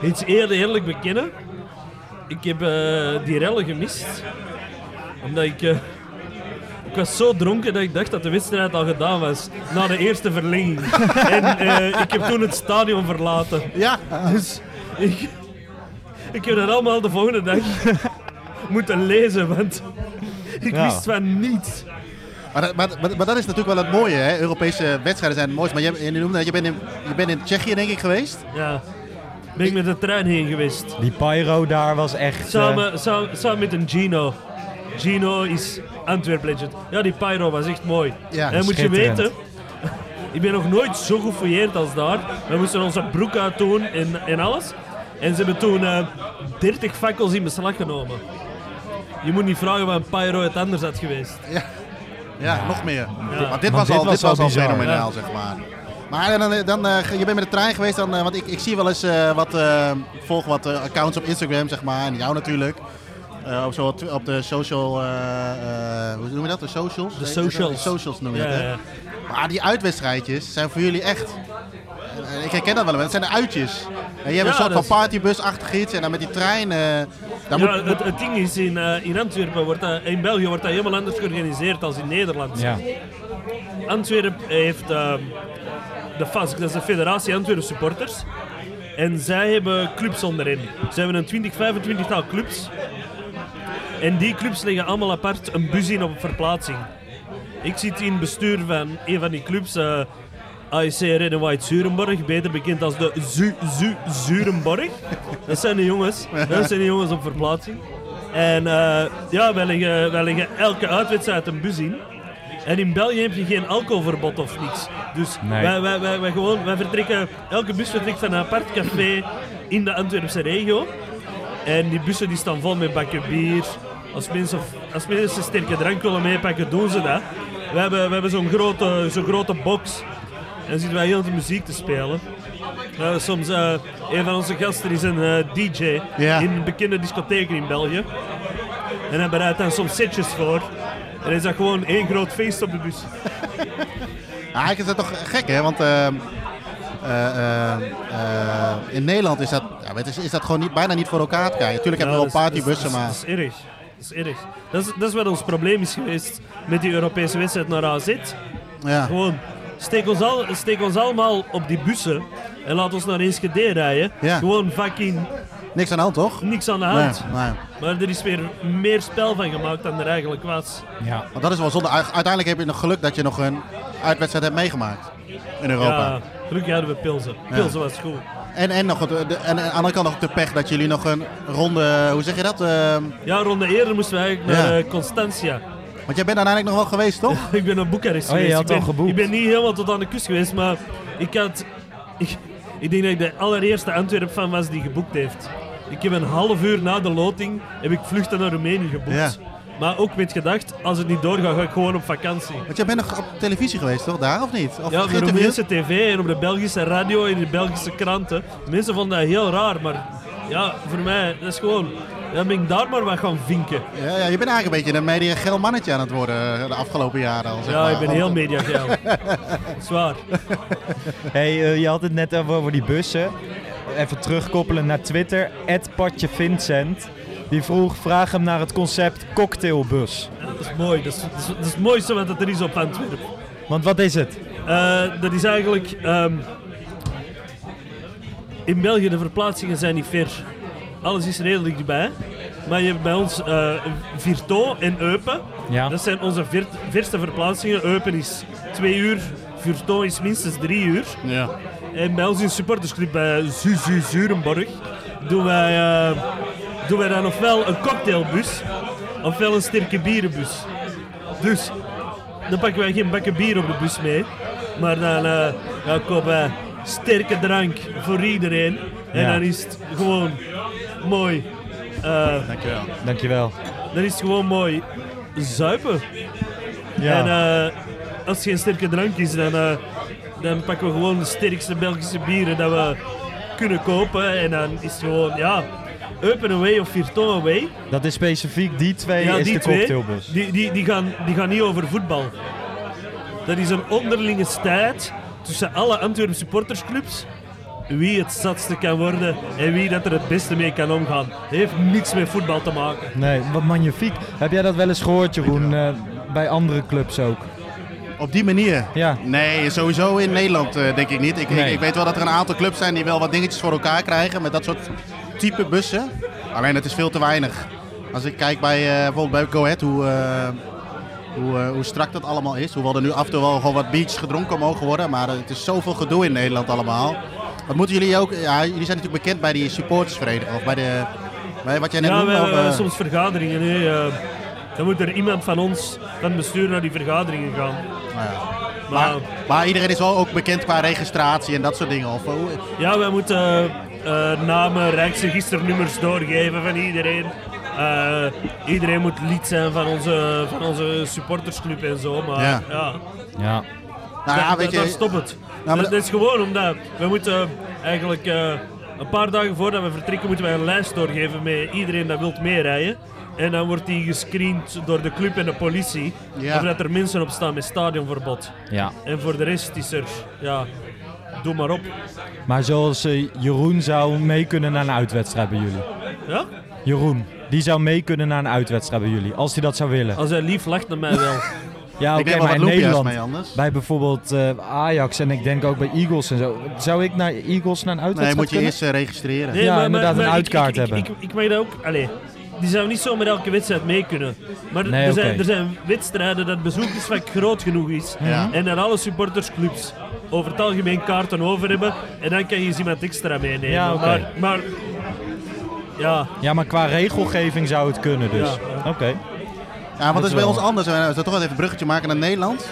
iets eerder eerlijk bekennen. Ik heb eh, die rellen gemist. Omdat ik... eh, ik was zo dronken dat ik dacht dat de wedstrijd al gedaan was. Na de eerste verlenging. en eh, ik heb toen het stadion verlaten.
Ja.
Dus ik, ik heb dat allemaal de volgende dag moeten lezen, want ik
Ja.
wist van niets.
Maar, dat- maar, maar, maar dat is natuurlijk wel het mooie, hè? Europese wedstrijden zijn het mooiste. Maar je, je, noemde, net, je, bent in, je bent in Tsjechië, denk ik, geweest.
Ja, ben ik met de trein heen geweest.
Die pyro daar was echt... eh,
Samen, samen, samen met een Gino. Gino is Antwerp legend. Ja, die pyro was echt mooi.
Ja,
en moet je
schitterend.
weten, Ik ben nog nooit zo gefouilleerd als daar. We moesten onze broek uitdoen en, en alles. En ze hebben toen eh 30 fakkels in beslag genomen. Je moet niet vragen waar een pyro het anders had geweest.
Ja, nog meer. Maar dit
Want
was
dit
al,
was
dit was
wel
al
bizar,
fenomenaal, zeg maar. Maar dan, eh, dan, eh, je bent met de trein geweest, dan, eh, want ik, ik zie wel eens eh, wat, eh, ik volg wat eh, accounts op Instagram, zeg maar, en jou natuurlijk. Eh, op, zo, wat- op de social, eh, eh, hoe noem je dat? De socials?
De
Heet het dat?
socials.
De socials noem je
Ja,
dat, hè?
ja.
Maar die uitwedstrijdjes zijn voor jullie echt. eh, Ik herken dat wel, maar het zijn de uitjes. En je hebt een
Ja,
soort van
dat is-
partybusachtig iets en dan met die trein. eh, daar moet,
Ja, het, het ding is, in, eh, in Antwerpen wordt dat, in België wordt dat helemaal anders georganiseerd dan in Nederland.
Ja.
Antwerpen heeft ehm, de FASC, dat is de Federatie Antwerpen Supporters. En zij hebben clubs onderin. Ze hebben een 20, 25 tal clubs. En die clubs leggen allemaal apart een bus in op verplaatsing. Ik zit in het bestuur van een van die clubs, eh AIC Red and White Zurenborg, beter bekend als de Zu Zu Zurenborg. Dat zijn de jongens, dat zijn de jongens op verplaatsing. En eh, ja, wij leggen, wij leggen elke uitwedstrijd een bus in. En in België heb je geen alcoholverbod of niks. Dus
Nee.
wij, wij, wij, wij, gewoon, wij vertrekken, elke bus vertrekt van een apart café in de Antwerpse regio. En die bussen die staan vol met bakken bier. Als mensen, als mensen sterke drank willen meepakken, doen ze dat. We hebben, we hebben zo'n grote, zo'n grote box. En dan zitten wij heel de muziek te spelen. We hebben soms, eh, een van onze gasten is een eh, DJ
Ja.
in bekende discotheken in België. En hij bereidt dan soms setjes voor. En is dat gewoon één groot feest op de bus.
Ja, eigenlijk is dat toch gek, hè? Want ehm, eh, ehm, eh, in Nederland is dat, ja, weet je, is dat gewoon niet, bijna niet voor elkaar te krijgen. Natuurlijk hebben
Ja,
we wel
dat is-
partybussen,
dat
maar...
is- Dat is erg. Dat is erg. Dat is, dat is wat ons probleem is geweest met die Europese wedstrijd naar AZ.
Ja.
Gewoon, steek ons, al, steek ons allemaal op die bussen en laat ons naar Enschede rijden.
Ja.
Gewoon fucking
Niks aan de hand, toch?
niks aan de hand.
Nee, nee.
Maar er is weer meer spel van gemaakt dan er eigenlijk was.
Ja.
Want dat is wel zonde. U- Uiteindelijk heb je nog geluk dat je nog een uitwedstrijd hebt meegemaakt in Europa.
Ja, gelukkig hadden we Pilsen. Pilsen was goed.
En, en, nog het, de, en, en aan de andere kant nog de pech dat jullie nog een ronde... Hoe zeg je dat? Ehm,
Ja, ronde eerder moesten we eigenlijk naar
Ja.
eh, Constantia.
want jij bent uiteindelijk nog wel geweest, toch?
Ik ben naar Boekarest
Oh, je
geweest.
had
ik, ben,
al geboekt.
ik ben niet helemaal tot aan de kust geweest, maar ik had... Ik, ik denk dat ik de allereerste Antwerp-fan was die geboekt heeft. Ik heb een half uur na de loting heb ik vluchten naar Roemenië geboekt.
Ja.
Maar ook met gedacht, als het niet doorgaat, ga ik gewoon op vakantie.
Want jij bent nog op televisie geweest, toch? Daar of niet? Of
Ja, op de
geïnterviewd?
Roemeense tv en op de Belgische radio en in de Belgische kranten. Mensen vonden dat heel raar, maar ja, voor mij, dat is gewoon... Dan ben ik daar maar wat gaan vinken.
Ja, ja, je bent eigenlijk een beetje een mediagel mannetje aan het worden eh, de afgelopen jaren al. Zeg
Ja,
maar.
ik ben
Want-
heel mediageil. Zwaar.
Hey, eh, je had het net over, over die bussen. Even terugkoppelen naar Twitter. Patje Vincent. Die vroeg, vraag hem naar het concept cocktailbus.
Dat is mooi. Dat is, dat is, dat is het mooiste wat dat er is op Antwerpen.
Want wat is het?
Eh, dat is eigenlijk... ehm, in België de verplaatsingen zijn niet ver. Alles is redelijk erbij. Maar je hebt bij ons eh Virto en Eupen.
Ja.
Dat zijn onze ver- verste verplaatsingen. Eupen is twee uur, Virto is minstens drie uur.
Ja.
En Eh, bij ons in supportersclub bij Zu Zu Zurenborg doen wij, eh, doen wij dan ofwel een cocktailbus ofwel een sterke bierenbus. Dus dan pakken wij geen bakken bier op de bus mee, maar dan, eh dan kopen wij sterke drank voor iedereen. En
Ja.
dan is het gewoon mooi. eh,
Dankjewel.
Dankjewel.
dan is het gewoon mooi zuipen.
Ja.
En eh, als het geen sterke drank is, dan, eh, dan pakken we gewoon de sterkste Belgische bieren dat we kunnen kopen. En dan is het gewoon, ja, open away of virtual away.
dat is specifiek die twee
ja,
is
die
de
twee,
cocktailbus.
die, die, die, gaan, die gaan niet over voetbal. Dat is een onderlinge strijd tussen alle Antwerp supportersclubs. Wie het zatste kan worden en wie dat er het beste mee kan omgaan. Dat heeft niks met voetbal te maken.
Nee, wat magnifiek. Heb jij dat wel eens gehoord, Jeroen? eh, bij andere clubs ook.
Op die manier?
Ja.
Nee, sowieso in Nederland eh, denk ik niet. Ik, ik- ik,
Nee.
weet wel dat er een aantal clubs zijn die wel wat dingetjes voor elkaar krijgen met dat soort type bussen. Alleen het is veel te weinig. Als ik kijk bij eh, bijvoorbeeld bij Go Ahead hoe, eh, hoe, eh, hoe strak dat allemaal is. Hoewel er nu af en toe wel gewoon wat beach gedronken mogen worden. Maar eh, het is zoveel gedoe in Nederland allemaal. Wat moeten jullie ook... Ja, jullie zijn natuurlijk bekend bij die supportersvereniging. Of bij de... Bij wat jij net
Ja, we
noemde.
hebben
of, eh,
soms vergaderingen. Hè. eh, dan moet er iemand van ons, van het bestuur, naar die vergaderingen gaan.
nou ja.
Maar,
Maar iedereen is wel ook bekend qua registratie en dat soort dingen. Of, hoe-
ja, wij moeten eh, eh, namen, rijksregisternummers doorgeven van iedereen. Eh, iedereen moet lid zijn van onze, van onze supportersclub en zo. Maar
Ja.
ja,
Ja.
nou ja,
daar-
weet
daar
je, nou,
stopt het.
maar
dat,
dat-
dat is gewoon omdat we moeten eigenlijk eh, een paar dagen voordat we vertrekken, moeten wij een lijst doorgeven met iedereen dat wilt meerijden. En dan wordt die gescreend door de club en de politie.
Ja.
Of dat er mensen op staan met stadionverbod.
ja.
En voor de rest is er, ja, doe maar op.
Maar zoals eh, Jeroen zou mee kunnen naar een uitwedstrijd bij jullie.
Ja?
Jeroen, die zou mee kunnen naar een uitwedstrijd bij jullie. Als hij dat zou willen.
Als hij lief lacht naar mij wel.
Ja,
Ik
oké,
neem wel
maar in
wat loempjes
Nederland,
mee anders.
bij bijvoorbeeld eh, Ajax en ik denk ook bij Eagles en zo. Zou ik naar Eagles naar een
nee,
uitwedstrijd
moet je
kunnen?
eerst eh, registreren.
Nee,
Ja, inderdaad, een
ik-
uitkaart
ik, ik,
hebben.
Ik, ik, weet dat ook. Allee, die zou niet zo met elke wedstrijd mee kunnen. Maar
Nee,
er,
oké.
zijn, er zijn wedstrijden dat bezoekersvak groot genoeg is.
Ja.
En dat alle supportersclubs over het algemeen kaarten over hebben. En dan kan je eens iemand extra meenemen.
Ja, oké.
maar, maar ja,
Ja, maar qua regelgeving zou het kunnen dus.
Ja, ja.
Oké.
Ja, want dat is bij
wel-
ons anders. We zullen toch wel even een bruggetje maken naar Nederland.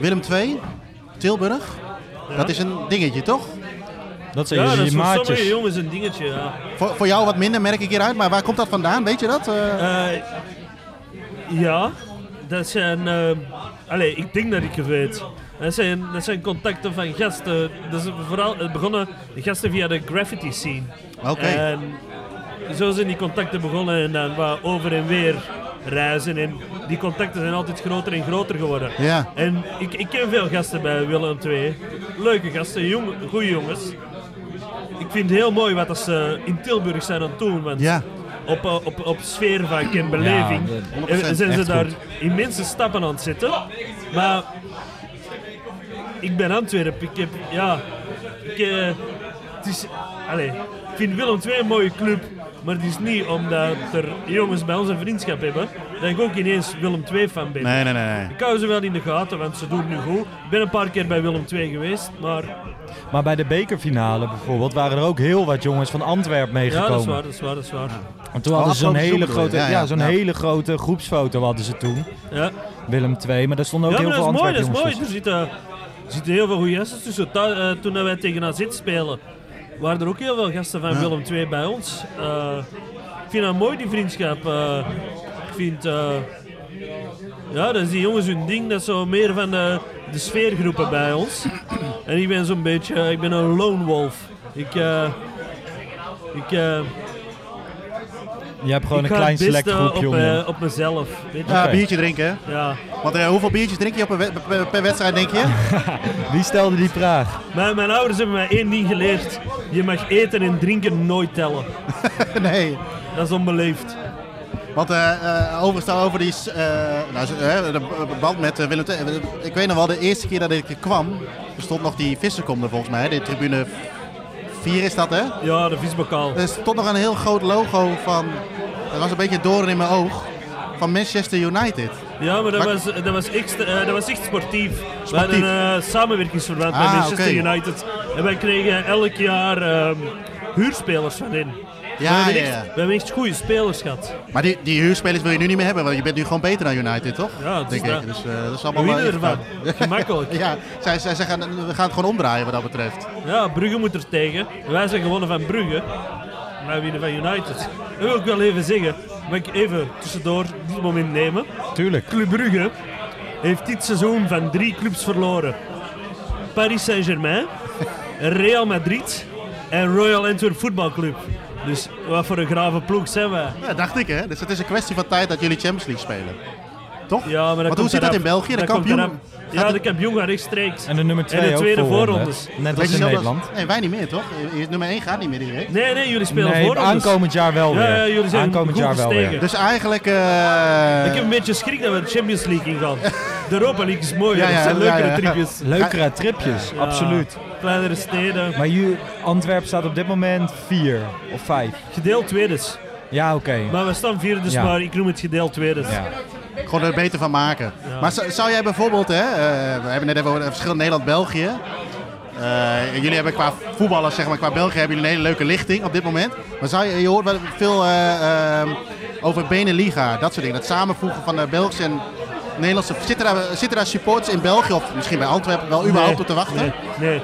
Willem II, Tilburg. Dat is een dingetje, toch?
Dat zijn
ja dat
jullie
is voor sommige
maatjes.
jongens een dingetje. Ja.
Voor, voor jou wat minder merk ik hieruit, maar waar komt dat vandaan? Weet je dat? Eh,
Eh, ja, dat zijn. eh, allee, ik denk dat ik het weet. Dat zijn, dat zijn contacten van gasten. Dat is vooral het begonnen gasten via de graffiti scene.
Oké.
En zo zijn die contacten begonnen en dan wat over en weer reizen. En die contacten zijn altijd groter en groter geworden.
Ja.
En ik, ik ken veel gasten bij Willem II. Leuke gasten, jong, goede jongens. Ik vind het heel mooi wat dat ze in Tilburg zijn aan het doen. Want
Ja.
op, eh, op, op sfeervak en beleving.
Ja,
En
100%,
zijn ze
echt
daar
goed.
immense stappen aan het zetten. Maar ik ben Antwerpen. Ik heb, ja, ik, eh, het is, allez, ik vind Willem II een mooie club. Maar het is niet omdat er jongens bij ons een vriendschap hebben, dat ik ook ineens Willem II fan ben.
Nee, nee, nee. nee.
Ik hou ze wel in de gaten, want ze doen het nu goed. Ik ben een paar keer bij Willem II geweest, maar
Maar bij de bekerfinale bijvoorbeeld waren er ook heel wat jongens van Antwerpen
ja,
meegekomen.
dat is waar, dat is waar, dat is waar.
En toen hadden ze zo'n
afgelopen
hele
seizoen
grote,
bedoel
ja,
je? Ja, ja.
zo'n
Ja.
hele grote groepsfoto hadden ze toen.
Ja.
Willem II, maar daar stonden ook
ja,
heel
maar
veel
dat is mooi,
Antwerpen
dat is
jongens.
mooi. Er zitten, er zitten heel veel goede gasten tussen. Tha- eh, toen wij tegen AZ spelen, waren er ook heel veel gasten van Willem II bij ons. Eh, ik vind dat mooi, die vriendschap. Eh, ik vind... eh, ja, dat is die jongens hun ding. Dat is zo meer van de, de sfeergroepen bij ons. en ik ben zo'n beetje... eh, Ik ben een lone wolf. Ik... eh, ik, eh,
Je hebt gewoon
ik
een
ga
klein
het
select
beste
groepje
op,
om je.
eh, op mezelf. Weet je?
Ja,
Oké.
biertje drinken. hè?
Ja.
Want eh, hoeveel biertjes drink je op een we- per, per wedstrijd, denk je?
Wie stelde die vraag?
Mijn, mijn ouders hebben mij één ding geleerd. Je mag eten en drinken nooit tellen.
nee.
Dat is onbeleefd.
Want eh, eh, overigens dan over die s- eh, nou, z- eh, de b- band met eh, Willem II. Ik weet nog wel, de eerste keer dat ik er kwam, er stond nog die vissenkom er volgens mij. hè. De tribune 4 is dat, hè?
Ja, de visbokaal.
Er stond nog een heel groot logo van, dat was een beetje doorn in mijn oog, van Manchester United.
Ja, maar dat
Maar-
was, dat was, echt, eh, dat was echt sportief. We
Sportief.
hadden een eh, samenwerkingsverband
Ah,
met Manchester
oké.
United. En wij kregen elk jaar ehm, huurspelers van in. we,
Ja,
hebben
Ah, ja,
echt,
ja.
we hebben echt goede spelers gehad.
Maar die, die huurspelers wil je nu niet meer hebben, want je bent nu gewoon beter dan United, toch?
Ja, het is
denk ik.
dat.
Dus eh, dat is
We
allemaal wel
winnen ervan.
even-
Gemakkelijk. ja.
Ja, zij, zij zeggen, we gaan het gewoon omdraaien wat dat betreft.
Brugge moet er tegen. Wij zijn gewonnen van Brugge. Wij winnen van United. Dat wil ik wel even zeggen. Mag ik even tussendoor dit moment nemen?
Tuurlijk.
Club Brugge heeft dit seizoen van drie clubs verloren. Paris Saint-Germain, Real Madrid en Royal Antwerp Football Club. Dus wat voor een grave ploeg zijn wij.
Ja, dacht ik hè. Dus het is een kwestie van tijd dat jullie Champions League spelen. Toch?
Ja, maar dat
Want hoe
komt
zit dat in
eraf.
België? De
Dat komt
kampioen...
eraf.
gaat
Ja, de
het-
kampioen gaat rechtstreeks.
En de nummer 2
En de tweede
ook voorronde.
voorrondes.
Net
Weet je
als in
zelf dat-
Nederland.
Nee, wij niet meer toch? Eerst Nummer 1 gaat niet meer direct.
Nee, nee, jullie spelen
Nee,
voorrondes.
aankomend jaar wel weer.
Ja, ja, jullie zijn
aankomend
goed
jaar wel
gestegen.
weer.
Dus eigenlijk... eh,
Ik heb een beetje schrik dat we de Champions League ingaan. De Europa League is mooier,
Ja, ja,
er zijn
ja,
leukere
ja.
tripjes.
Leukere tripjes,
Ja,
absoluut.
Kleinere steden.
Maar ju- Antwerpen staat op dit moment 4 of 5.
Gedeeld tweedes.
Ja, oké.
Maar we staan vierde, dus
Ja.
maar ik noem het gedeeld tweedes.
Ja.
Gewoon er beter van maken. Maar zou, zou jij bijvoorbeeld, hè, eh, we hebben net even over het verschil Nederland-België. Eh, jullie hebben qua voetballers, zeg maar, qua België hebben jullie een hele leuke lichting op dit moment. Maar zou je, je hoort wel veel eh, ehm, over Beneliga, dat soort dingen. Het samenvoegen van de Belgische en Nederlandse... Zitten daar, zitten daar supporters in België of misschien bij Antwerpen wel überhaupt
Nee,
op te wachten?
Nee, nee.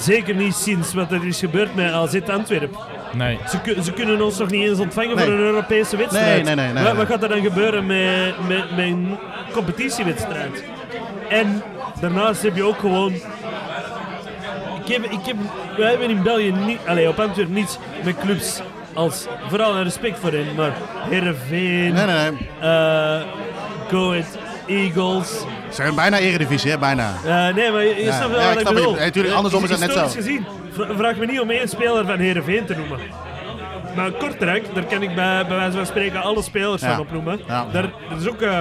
Zeker niet sinds wat er is gebeurd met AZ Antwerpen.
Nee.
Ze, ku- ze kunnen ons nog niet eens ontvangen
Nee.
voor een Europese wedstrijd.
Nee, nee, nee, nee, nee.
wat, wat gaat er dan gebeuren met, met, met een competitiewedstrijd? En daarnaast heb je ook gewoon... Ik heb, ik heb, wij hebben in België niet, allee, op Antwerpen niets met clubs als... Vooral een respect voor hen, maar Heerenveen,
Nee, nee, nee.
eh, Go Ahead Eagles...
Ze zijn bijna eredivisie, hè? Bijna.
Eh, nee, maar je, je
Ja,
snapt wel
ja, ik
wat ik
snap
bedoel. Eh, dus
het. Nee, tuurlijk, andersom is dat net zo.
Historisch gezien, vra- vraag me niet om één speler van Heerenveen te noemen. Maar Kortrijk, daar kan ik bij, bij wijze van spreken alle spelers
Ja.
van opnoemen.
Ja.
Daar, dat is ook eh,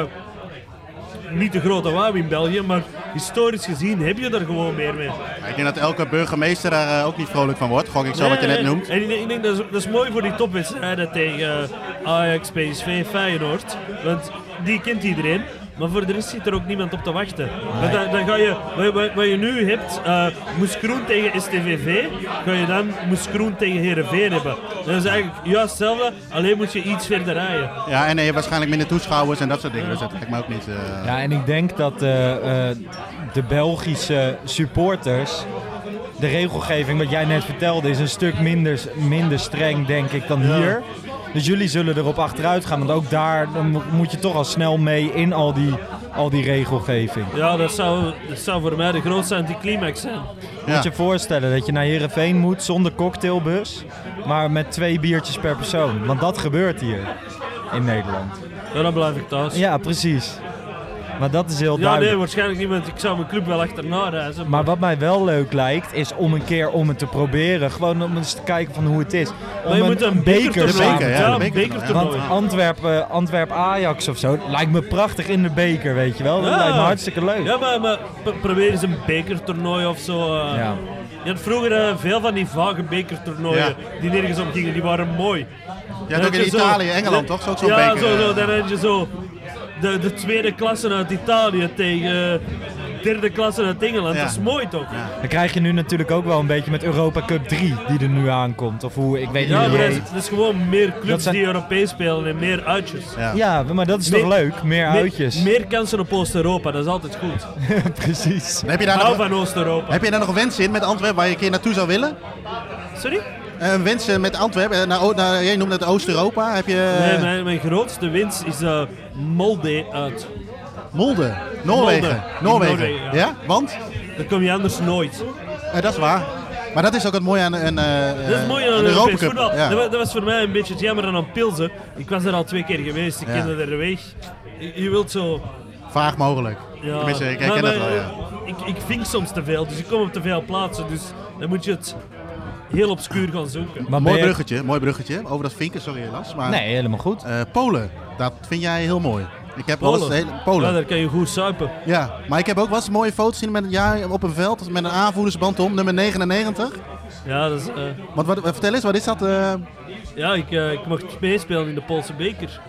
niet de grote wauw in België, maar historisch gezien heb je er gewoon meer mee.
Ik denk dat elke burgemeester daar eh, ook niet vrolijk van wordt. Gok ik zo wat je
Nee,
net
nee.
noemt.
En ik denk, ik denk dat, is, dat is mooi voor die topwedstrijden tegen eh, Ajax, PSV, Feyenoord. Want die kent iedereen. Maar voor de rest zit er ook niemand op te wachten. Want dan, dan ga je, wat, wat, wat je nu hebt, eh Moeskroen tegen STVV, ga je dan Moeskroen tegen Herenveen hebben. Dat is eigenlijk juist hetzelfde, alleen moet je iets verder rijden.
Ja, en eh, waarschijnlijk minder toeschouwers en dat soort dingen. Dus dat lijkt me ook niet... eh,
Ja, en ik denk dat eh, eh, de Belgische supporters. De regelgeving, wat jij net vertelde, is een stuk minder, minder streng, denk ik, dan hier. Dus jullie zullen erop achteruit gaan. Want ook daar dan mo- moet je toch al snel mee in al die, al die regelgeving.
Ja, dat zou, dat zou voor mij de grootste anticlimax zijn.
ja.
Moet je voorstellen dat je naar Heerenveen moet zonder cocktailbus, maar met twee biertjes per persoon. Want dat gebeurt hier in Nederland.
Ja, dan blijf ik thuis.
Ja, precies. Maar dat is heel
Ja,
duidelijk.
nee, waarschijnlijk niet, want ik zou mijn club wel achterna reizen.
Maar wat mij wel leuk lijkt, is om een keer om het te proberen. Gewoon om eens te kijken van hoe het is. Om
Maar je moet een beker
samen-
beker, ja,
ja,
een
een
bekertoernooi.
bekertoernooi.
Want Antwerpen, Antwerp Ajax of zo lijkt me prachtig in de beker, weet je wel. Dat lijkt me hartstikke leuk.
Ja, maar, maar p- probeer eens een bekertoernooi of zo. eh.
Ja.
Je had vroeger eh, veel van die vage bekertoernooien
Ja.
die nergens om gingen, die waren mooi.
Je
Dan
hebt ook
had
in
je zo-
Italië, Engeland toch? Zo ook zo'n
ja,
beker.
zo,
eh.
zo, dan had je zo de, de tweede klasse uit Italië tegen eh, derde klasse uit Engeland.
Ja.
Dat is mooi toch?
Ja.
Ja,
Dan krijg je nu natuurlijk ook wel een beetje met Europa Cup 3 die er nu aankomt. Of hoe, ik weet niet
maar
hoe het
dat is,
heet.
dat is gewoon meer clubs
Dat zijn-
die Europees spelen en meer uitjes.
Ja.
Ja, maar dat is toch
Meer-
leuk? Meer
Meer-
uitjes.
Meer kansen op Oost-Europa, dat is altijd goed.
precies.
Heb je, daar
Hou
nog,
van Oost-Europa.
heb je daar nog een wens in met Antwerpen waar je een keer naartoe zou willen?
Sorry?
Eh, Een wens eh, met Antwerpen, eh, naar, O- naar, jij noemde het Oost-Europa. Heb je eh,
Nee, mijn, mijn grootste winst is eh Molde uit.
Molde, Noorwegen.
Molde.
Noorwegen.
Noorwegen,
ja.
ja.
want?
Daar kom je anders nooit.
Eh, dat is waar. Maar dat is ook het mooie aan een, eh
dat is mooi aan
een
Europees
Cup.
voetbal.
Ja.
Dat, wa- dat was voor mij een beetje het jammer dan aan Pilsen. Ik was er al twee keer geweest, ik
Ja.
kende de weg. Je, je wilt zo...
Vaag mogelijk.
Ja.
Tenminste, ik
Maar-
herken dat
maar,
wel, ja.
Ik, ik vink soms te veel, dus ik kom op te veel plaatsen. Dus dan moet je het heel obscuur gaan zoeken.
Maar ben
Mooi
je-
bruggetje, mooi bruggetje. Over dat vinken, sorry helaas. Maar
Nee, helemaal goed.
eh, Polen, dat vind jij heel mooi. Ik heb wel eens de hele-
Ja,
Polen. Ja,
daar kan je goed suipen.
maar ik heb ook wel eens mooie foto's zien met een jaar op een veld met een aanvoerdersband om, nummer 99.
Ja, dat is, eh,
Want wat, wat- vertel eens, wat is dat? eh
ja ik, eh, ik mocht meespelen in de Poolse beker.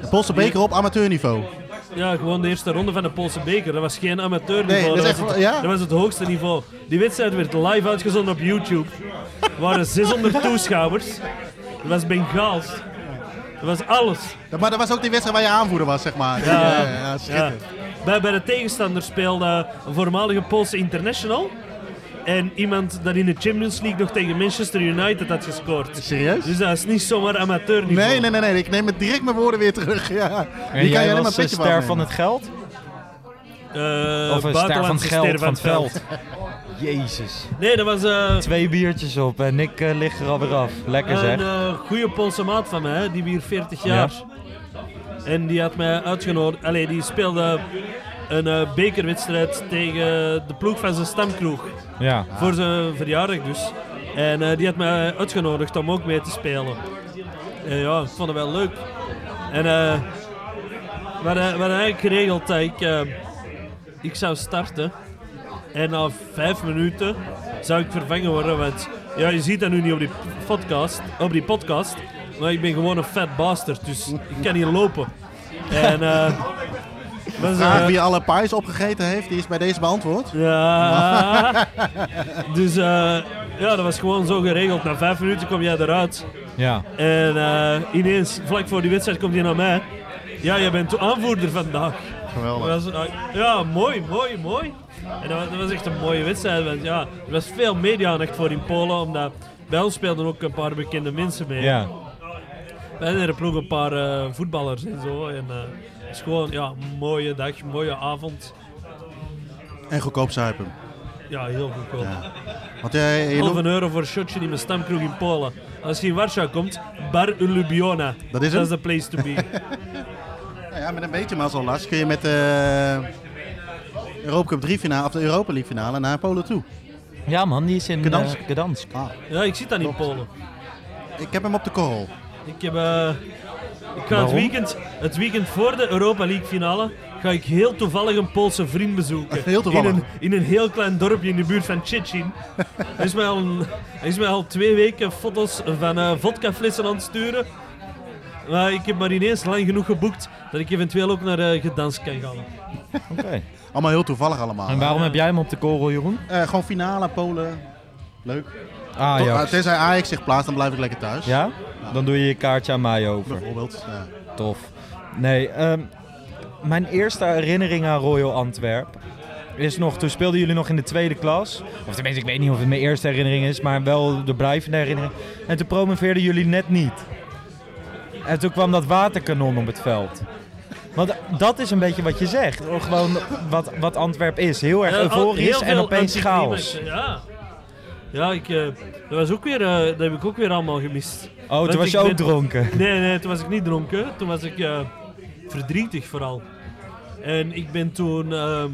de Poolse beker op amateurniveau.
Ja, gewoon de eerste ronde van de Poolse beker. Dat was geen amateurniveau.
Nee, dat is
was
echt-
het,
ja?
dat was het hoogste niveau. Die wedstrijd werd live uitgezonden op YouTube. Er waren 600 toeschouwers. Dat was Bengaals. Dat was alles.
Dat- Maar dat was ook die wedstrijd waar je aanvoerder was, zeg maar.
Ja,
ja, ja, schitterend.
Bij, bij de tegenstander speelde een voormalige Poolse international. En iemand dat in de Champions League nog tegen Manchester United had gescoord.
Serieus?
Dus dat is niet zomaar amateurniveau.
Nee, nee, nee, nee, ik neem het direct mijn woorden weer terug. Ja.
En
Die kan je
jij
helemaal
was eh,
pitje
ster van
afnemen.
het geld?
Eh,
Of een
buitenlandse
ster van het geld,
ster
van het veld. Jezus.
Nee, dat was... eh,
Twee biertjes op en ik eh, lig er alweer af. Lekker
Een
zeg.
eh goede Poolse maat van mij, hè, die hier 40 jaar. En die had mij uitgenodigd. Allee, die speelde een eh, bekerwedstrijd tegen de ploeg van zijn stamkroeg.
Ja.
Voor zijn verjaardag dus. En eh, die had mij uitgenodigd om ook mee te spelen. En ja, ik vond het wel leuk. En eh we hadden, we hadden eigenlijk geregeld dat ik, eh, ik zou starten. En na vijf minuten zou ik vervangen worden. Want ja, je ziet dat nu niet op die podcast. Op die podcast maar ik ben gewoon een fat bastard, dus ik kan niet lopen. En eh, was, eh,
Vraag wie alle pies opgegeten heeft, die is bij deze beantwoord.
ja. dus eh, ja, dat was gewoon zo geregeld. Na vijf minuten kom jij eruit.
Ja.
En eh, ineens, vlak voor die wedstrijd, komt hij naar mij. Ja, jij bent de aanvoerder vandaag.
geweldig.
Dat was, eh, ja, mooi, mooi, mooi. En dat was, dat was echt een mooie wedstrijd. Want ja, er was veel media-aandacht voor in Polen. Omdat bij ons speelden ook een paar bekende mensen mee.
Ja.
Bij de andere ploeg een paar eh, voetballers en zo. En, eh, het is gewoon ja, een mooie dag, een mooie avond.
En goedkoop zuipen.
Ja, heel goedkoop.
Ja. Want jij, je
Half
noemt-
een euro voor een shotje in mijn stamkroeg in Polen. Als je in Warschau komt, Bar Ulubiona.
Dat is hem?
Dat is de place to be.
nou ja, met een beetje mazzel last kun je met de Europa Cup 3 finale of de Europa League finale naar Polen toe.
Ja man, die is in
Gdansk.
eh, Gdansk.
Ah,
ja, ik zit dan in Polen.
ik heb hem op de korrel.
Ik heb... eh, ik ga het weekend, het weekend voor de Europa League finale ga ik heel toevallig een Poolse vriend bezoeken.
Heel toevallig.
In een, in een heel klein dorpje in de buurt van Tsjechin. Hij is mij al, een- hij is mij al twee weken foto's van eh vodkaflessen aan het sturen. Maar ik heb maar ineens lang genoeg geboekt dat ik eventueel ook naar eh Gdansk kan gaan.
Oké.
Allemaal heel toevallig allemaal.
En waarom heb jij hem op de korrel, Jeroen?
Eh, gewoon finale, Polen. Leuk.
Ah,
Tot- maar tenzij Ajax zich plaatst, dan blijf ik lekker thuis.
Ja? Dan doe je je kaartje aan mij over.
Bijvoorbeeld. Ja.
Tof. Nee, ehm, mijn eerste herinnering aan Royal Antwerp is nog, toen speelden jullie nog in de tweede klas. Of tenminste, ik weet niet of het mijn eerste herinnering is, maar wel de blijvende herinnering. En toen promoveerden jullie net niet. En toen kwam dat waterkanon op het veld. Want dat is een beetje wat je zegt. Gewoon wat, wat Antwerp is. Heel erg
Ja, Eh, al-
euforisch
heel
en
veel
opeens
anticlimax,
chaos.
Ja, ja ik, eh, dat, was ook weer, eh, dat heb ik ook weer allemaal gemist.
Oh,
Want
toen was
ik
je ook
ben-
dronken.
Nee, nee, toen was ik niet dronken. Toen was ik eh, verdrietig vooral. En ik ben toen ehm,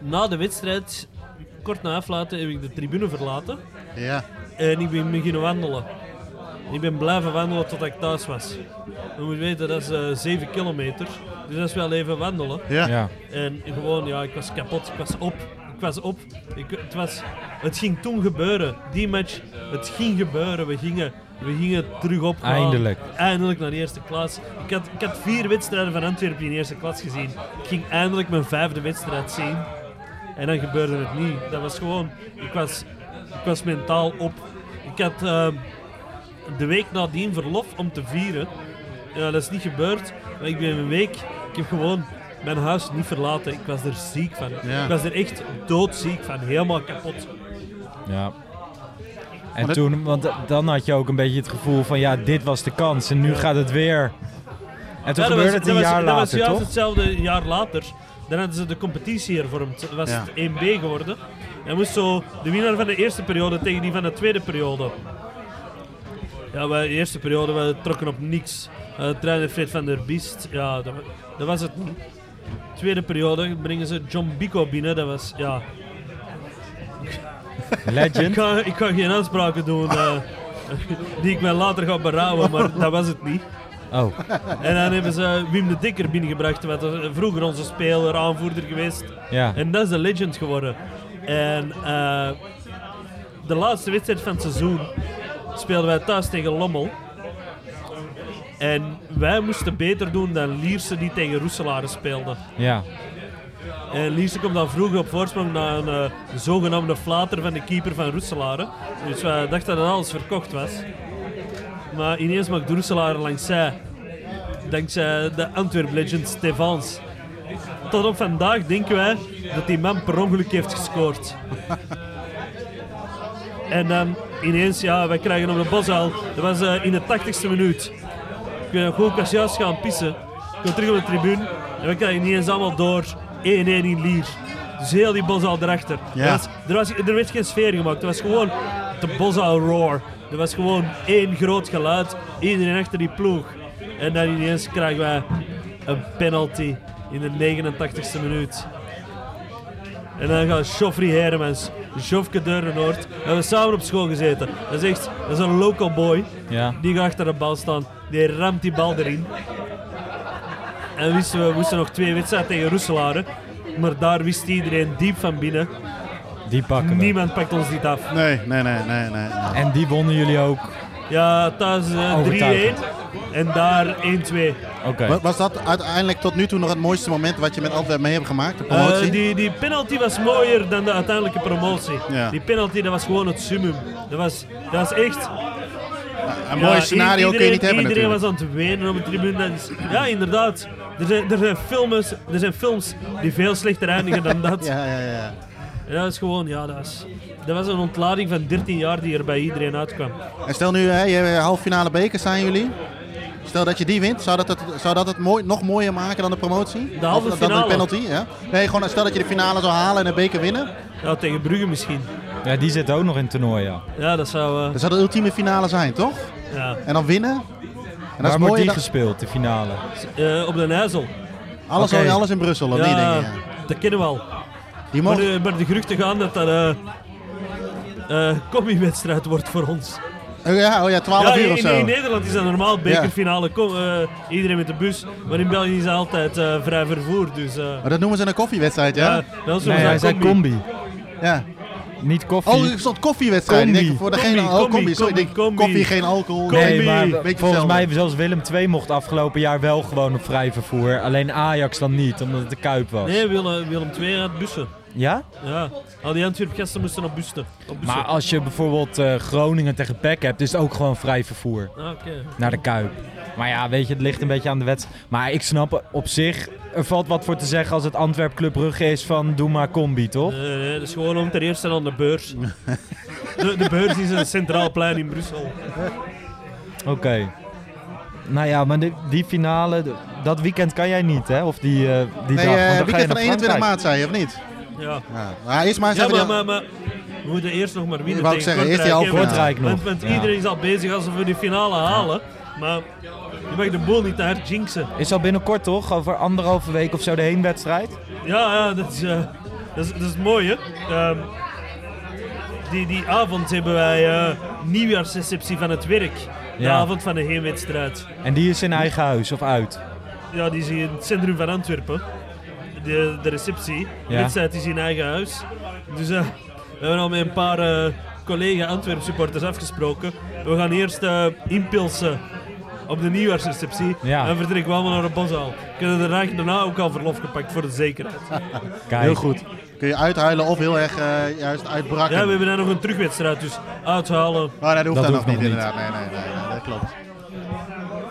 na de wedstrijd, kort na aflaten, heb ik de tribune verlaten.
ja.
En ik ben beginnen wandelen. Ik ben blijven wandelen tot ik thuis was. Je moet weten, dat is eh 7 kilometer. Dus dat is wel even wandelen.
Ja.
Ja.
En gewoon, ja, ik was kapot. Ik was op. Ik was op. Ik, het, was, het ging toen gebeuren. Die match, het ging gebeuren. We gingen, we gingen terug op.
Eindelijk.
Eindelijk naar de eerste klas. Ik had, ik had vier wedstrijden van Antwerpen in de eerste klas gezien. Ik ging eindelijk mijn vijfde wedstrijd zien. En dan gebeurde het niet. Dat was gewoon... Ik was, ik was mentaal op. Ik had ehm, de week nadien verlof om te vieren. Ja, dat is niet gebeurd. Maar ik ben een week... Ik heb gewoon mijn huis niet verlaten. Ik was er ziek van.
Ja.
Ik was er echt doodziek van. Helemaal kapot.
Ja. En
het-
toen, want dan had je ook een beetje het gevoel van ja, dit was de kans en nu gaat het weer. En toen
Ja, dat
gebeurde
was-
het
dat
een
was-
jaar
Dat was
later,
juist
toch?
hetzelfde een jaar later. Dan hadden ze de competitie hervormd. Dan was
Ja.
het 1B geworden. En moest zo de winnaar van de eerste periode tegen die van de tweede periode. Ja, bij de eerste periode we trokken op niks. Eh trainer Fred van der Biest, ja, dat, wa- dat was het niet. Tweede periode brengen ze John Bico binnen. Dat was, ja... Ik
Legend.
ga, ik ga geen aanspraken doen eh, die ik mij later ga berouwen, maar dat was het niet.
Oh,
En dan hebben ze Wim de Dikker binnengebracht, wat er vroeger onze speler, aanvoerder geweest.
ja.
En dat is de legend geworden. En eh, de laatste wedstrijd van het seizoen speelden wij thuis tegen Lommel. En wij moesten beter doen dan Lierse die tegen Roeselare speelde.
Ja.
En Lierse Eh, komt dan vroeg op voorsprong na een eh, zogenaamde flater van de keeper van Roeselare. Dus wij dachten dat alles verkocht was. Maar ineens maakt Roeselare langs zij. Dankzij de Antwerp legend Stefans. Tot op vandaag denken wij dat die man per ongeluk heeft gescoord. en dan ineens, ja, wij krijgen op de bosuil. Dat was eh, in de 80ste minuut. Ik ben gewoon kassiaas gaan pissen. Ik kom terug op de tribune. En we krijgen niet eens allemaal door. 1-1 in Lier. Dus heel die Bosal erachter.
Ja.
Er, was, er, was, er werd geen sfeer gemaakt. Er was gewoon de Bosal roar. Er was gewoon één groot geluid. Iedereen achter die ploeg. En dan ineens krijgen wij een penalty in de 89ste minuut. En dan gaat Joffrey Hermans, Jofke Deurenoord. We hebben samen op school gezeten. Dat is echt, dat is een local boy.
Ja.
Die gaat achter de bal staan. Die ramt die bal erin. En wisten we moesten nog twee wedstrijden tegen Roeselare. Maar daar wist iedereen diep van binnen.
Die pakken we.
Niemand pakt ons dit af.
Nee, nee, nee, nee, nee. nee.
En die wonnen jullie ook.
Ja, thuis
Oh,
eh, 3-1.
Overtuigend.
En daar 1-2.
Oké.
Wa- Was dat uiteindelijk tot nu toe nog het mooiste moment wat je met Antwerpen mee hebt gemaakt? De
Eh,
promotie?
die, die penalty was mooier dan de uiteindelijke promotie.
Ja.
Die penalty dat was gewoon het summum. Dat was, dat was echt.
Een mooi
Ja,
scenario kun je niet hebben
Iedereen
natuurlijk.
was aan het wenen op de tribune. Dat is- ja, inderdaad. Er zijn, er, zijn films, er zijn films die veel slechter eindigen dan dat.
Ja, ja, ja.
En dat is gewoon, ja, dat, is, dat was een ontlading van 13 jaar die er bij iedereen uitkwam.
En stel nu, hè, je hebt halffinale beker staan jullie. Stel dat je die wint, zou dat het, zou dat het mooi, nog mooier maken dan de promotie?
De halve
Of dan
finale.
de penalty, ja. Nee, gewoon stel dat je de finale zou halen en de beker winnen.
Ja, tegen Brugge misschien.
Ja, die zit ook nog in het toernooi, ja.
Ja, dat zou... eh,
Dat zou de ultieme finale zijn, toch?
ja.
En dan winnen. En
Waar
dat is
wordt
mooi.
die
dat-
gespeeld, de finale?
Eh, op de IJssel.
Alles,
Oké.
alles in Brussel, of
ja,
niet, denk je?
dat kennen we al.
Die
Maar,
mogen...
de- maar de geruchten gaan dat dat eh eh wedstrijd wordt voor ons.
Oh ja, oh ja, 12
ja,
uur
in,
of zo.
in Nederland is dat normaal, bekerfinale, kom, eh, iedereen met de bus. Maar in België is dat altijd eh, vrij vervoer, dus... eh,
Maar dat noemen ze een koffiewedstrijd, ja?
ja, dat is
Nee, hij zei combi.
Ja.
Niet koffie.
Oh, er stond koffiewedstrijd. Ik
Combi.
denk, voor degene
Combi,
oh, combi,
combi,
sorry, ik denk,
combi.
koffie, geen alcohol.
Combi.
Nee, maar
Beetje
volgens
hetzelfde.
mij zelfs Willem II mocht afgelopen jaar wel gewoon op vrij vervoer. Alleen Ajax dan niet, omdat het de Kuip was.
Nee, Willem, Willem II had bussen.
Ja?
Ja, al die Antwerp gasten moesten op bussen. Op bussen.
Maar als je bijvoorbeeld eh, Groningen tegen Peck hebt, is het ook gewoon vrij vervoer
Ah, oké.
naar de Kuip. Maar ja, weet je, het ligt een beetje aan de wedstrijd. Maar ik snap op zich, er valt wat voor te zeggen als het Antwerp Club Brugge is van doe maar combi, toch?
Eh, Nee, nee, dat is gewoon om ten eerste aan de beurs. De, de beurs is een centraal plein in Brussel.
Oké. Nou ja, maar die, die finale, de- dat weekend kan jij niet, hè? Of die, eh, die
Nee,
dag. want dan
eh,
ga je naar
weekend van 21
Frankrijk.
maart, zei je, of niet?
Ja,
Ja, maar eerst maar eens
ja
even
maar,
die-
maar, maar we moeten eerst nog maar winnen
Wou ik
tegen
zeggen, eerst die
Kortrijk,
halve
hè,
Kortrijk
want-
nog.
Want, want
Ja.
iedereen is al bezig alsof we die finale halen. Maar je mag de boel niet te hard jinxen.
Is al binnenkort toch? Over anderhalve week of zo de heenwedstrijd?
Ja, ja dat, is, eh, dat, is, dat is mooi, hè. Ehm, die, die avond hebben wij eh nieuwjaarsreceptie van het werk. De
Ja.
avond van de heenwedstrijd.
En die is in eigen huis of uit?
Ja, die is in het centrum van Antwerpen. De, de receptie. De
Ja.
wedstrijd is in eigen huis. Dus eh, we hebben al met een paar eh, collega Antwerp supporters afgesproken. We gaan eerst eh, impulsen op de nieuwjaarsreceptie.
Ja.
En vertrekken we allemaal naar de boshaal. Kunnen de rijk daarna ook al verlof gepakt voor de zekerheid.
Kijk.
Heel goed. Kun je uithuilen of heel erg eh, juist uitbrakken.
Ja, we hebben daar nog een terugwedstrijd, dus uithalen.
Oh, nee, dat hoeft
Dat
dan nog
hoeft
niet,
nog niet.
inderdaad. Nee, nee, nee, nee, dat klopt.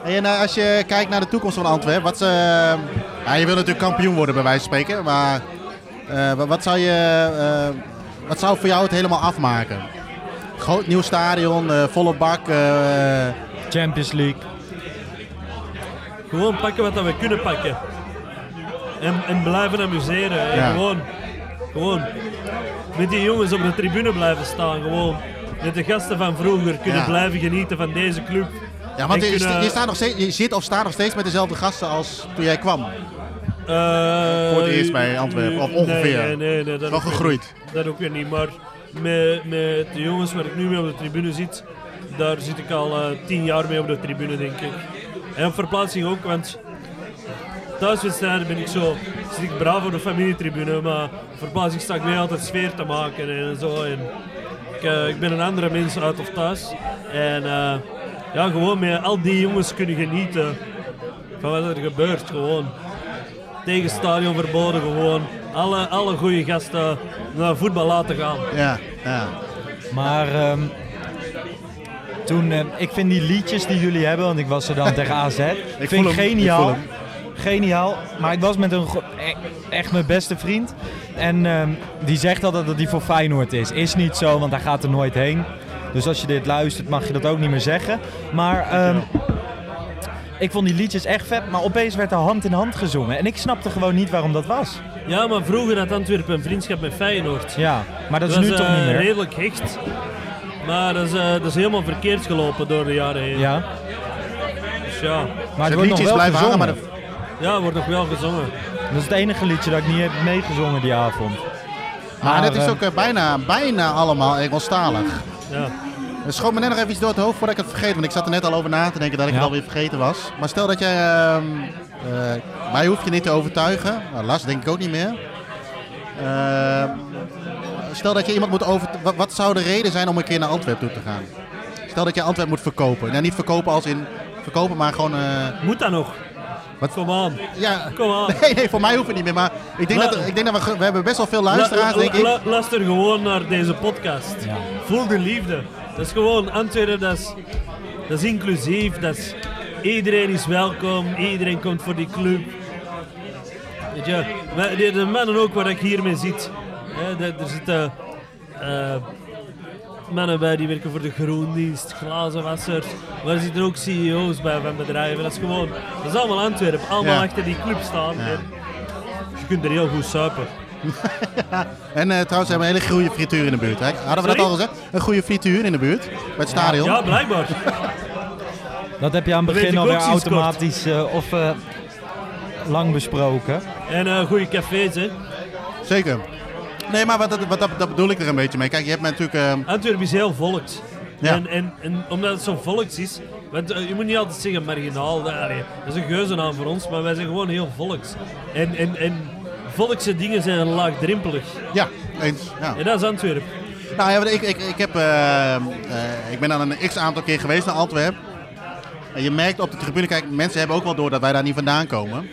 Hey, en eh, als je kijkt naar de toekomst van Antwerpen, wat... eh, ja, je wil natuurlijk kampioen worden, bij wijze van spreken. Maar eh, wa- wat zou je... eh, wat zou voor jou het helemaal afmaken? Groot nieuw stadion, eh, volle bak. eh,
Champions League.
Gewoon pakken wat dat we kunnen pakken. En, en blijven amuseren. En
Ja.
Gewoon, gewoon met die jongens op de tribune blijven staan. Gewoon met de gasten van vroeger kunnen
Ja.
blijven genieten van deze club.
ja, want
En
je,
kunnen,
je, staat nog steeds, je zit of staat nog steeds met dezelfde gasten als toen jij kwam.
eh,
Voor het eerst bij Antwerpen, of ongeveer.
Nee, nee, nee, nee, dat
Wel
ook weer
gegroeid.
niet. Dat ook weer niet, maar met, met de jongens waar ik nu mee op de tribune zit, daar zit ik al eh, tien jaar mee op de tribune, denk ik. En op verplaatsing ook, want thuiswedstrijden ben ik zo, zit ik braaf op de familietribune, maar op verplaatsing sta ik mee altijd sfeer te maken en zo. En ik, eh, ik ben een andere mens uit of thuis. En eh, ja, gewoon met al die jongens kunnen genieten van wat er gebeurt, gewoon tegen stadion verboden gewoon. Alle, alle goede gasten naar voetbal laten gaan.
Ja, ja.
Maar ehm, toen, eh, ik vind die liedjes die jullie hebben, want ik was er dan tegen AZ, vind
voel
ik
hem, ik
geniaal.
voel
geniaal. Maar ik was met een, gro- e- echt mijn beste vriend. En ehm, die zegt altijd dat hij voor Feyenoord is. Is niet zo, want hij gaat er nooit heen. Dus als je dit luistert, mag je dat ook niet meer zeggen. Maar ehm, ik vond die liedjes echt vet. Maar opeens werd er hand in hand gezongen. En ik snapte gewoon niet waarom dat was.
Ja, maar vroeger had Antwerpen een vriendschap met Feyenoord.
Ja, maar dat is nu
was,
toch
eh,
niet meer.
redelijk hecht. Maar dat is, eh, dat is helemaal verkeerd gelopen door de jaren heen.
Ja,
Dus ja,
maar
De
het wordt nog
liedjes
wel
blijven hangen,
gezongen.
maar de
ja er wordt nog wel gezongen.
Dat is het enige liedje dat ik niet heb meegezongen die avond.
Maar dat is
eh,
ook eh, bijna, bijna allemaal Engelstalig.
Ja.
Het schoot me net nog even iets door het hoofd voordat ik het vergeet. Want ik zat er net al over na te denken dat ik
Ja.
het alweer vergeten was. Maar stel dat jij... ehm, eh, mij hoef je niet te overtuigen. Nou, Lars denk ik ook niet meer. Ehm, stel dat je iemand moet over... wa- Wat, zou de reden zijn om een keer naar Antwerpen toe te gaan? Stel dat je Antwerpen moet verkopen. Nou, niet verkopen als in... Verkopen, maar gewoon... eh,
Moet dat nog?
Wat?
Kom aan.
ja,
Kom aan.
nee, nee, voor mij hoeft het niet meer. Maar ik denk,
La-
dat, ik denk dat we... We hebben best wel veel luisteraars,
La-
denk
la-
ik.
la- luister gewoon naar deze podcast.
Ja.
Voel de liefde. Dat is gewoon Antwerpen, dat is Dat is inclusief, dat is, iedereen is welkom, iedereen komt voor die club. Weet je, maar de, de mannen ook waar ik hiermee zit. Hè, dat- er zitten eh, mannen bij die werken voor de groendienst, glazenwassers. Maar er zitten ook CEO's bij van bedrijven. Dat is gewoon, dat is allemaal Antwerpen, allemaal
Ja.
achter die club staan.
Ja.
En je kunt er heel goed suipen.
En eh, trouwens, ze hebben een hele goede frituur in de buurt. Hè? Hadden we dat
Sorry?
al gezegd? Een goede frituur in de buurt. Bij het stadion.
Ja, blijkbaar.
Dat heb je aan het
Dat
begin
weet ik
alweer
ook sinds kort.
automatisch eh, of eh, lang besproken.
En eh goede cafés, hè.
Zeker. Nee, maar wat, dat- wat, dat, dat bedoel ik er een beetje mee. Kijk, je hebt natuurlijk... eh,
Antwerpen is heel volks.
Ja.
En, en, en omdat het zo volks is, want eh, je moet niet altijd zeggen marginaal, dat, allee, dat is een geuzennaam voor ons, maar wij zijn gewoon heel volks. En, en, en volkse dingen zijn laagdrempelig.
ja, eens. Ja.
En dat is Antwerpen.
Nou ja, ik, ik, ik, heb, eh, eh, ik ben al een x-aantal keer geweest naar Antwerpen. En je merkt op de tribune, kijk, mensen hebben ook wel door dat wij daar niet vandaan komen.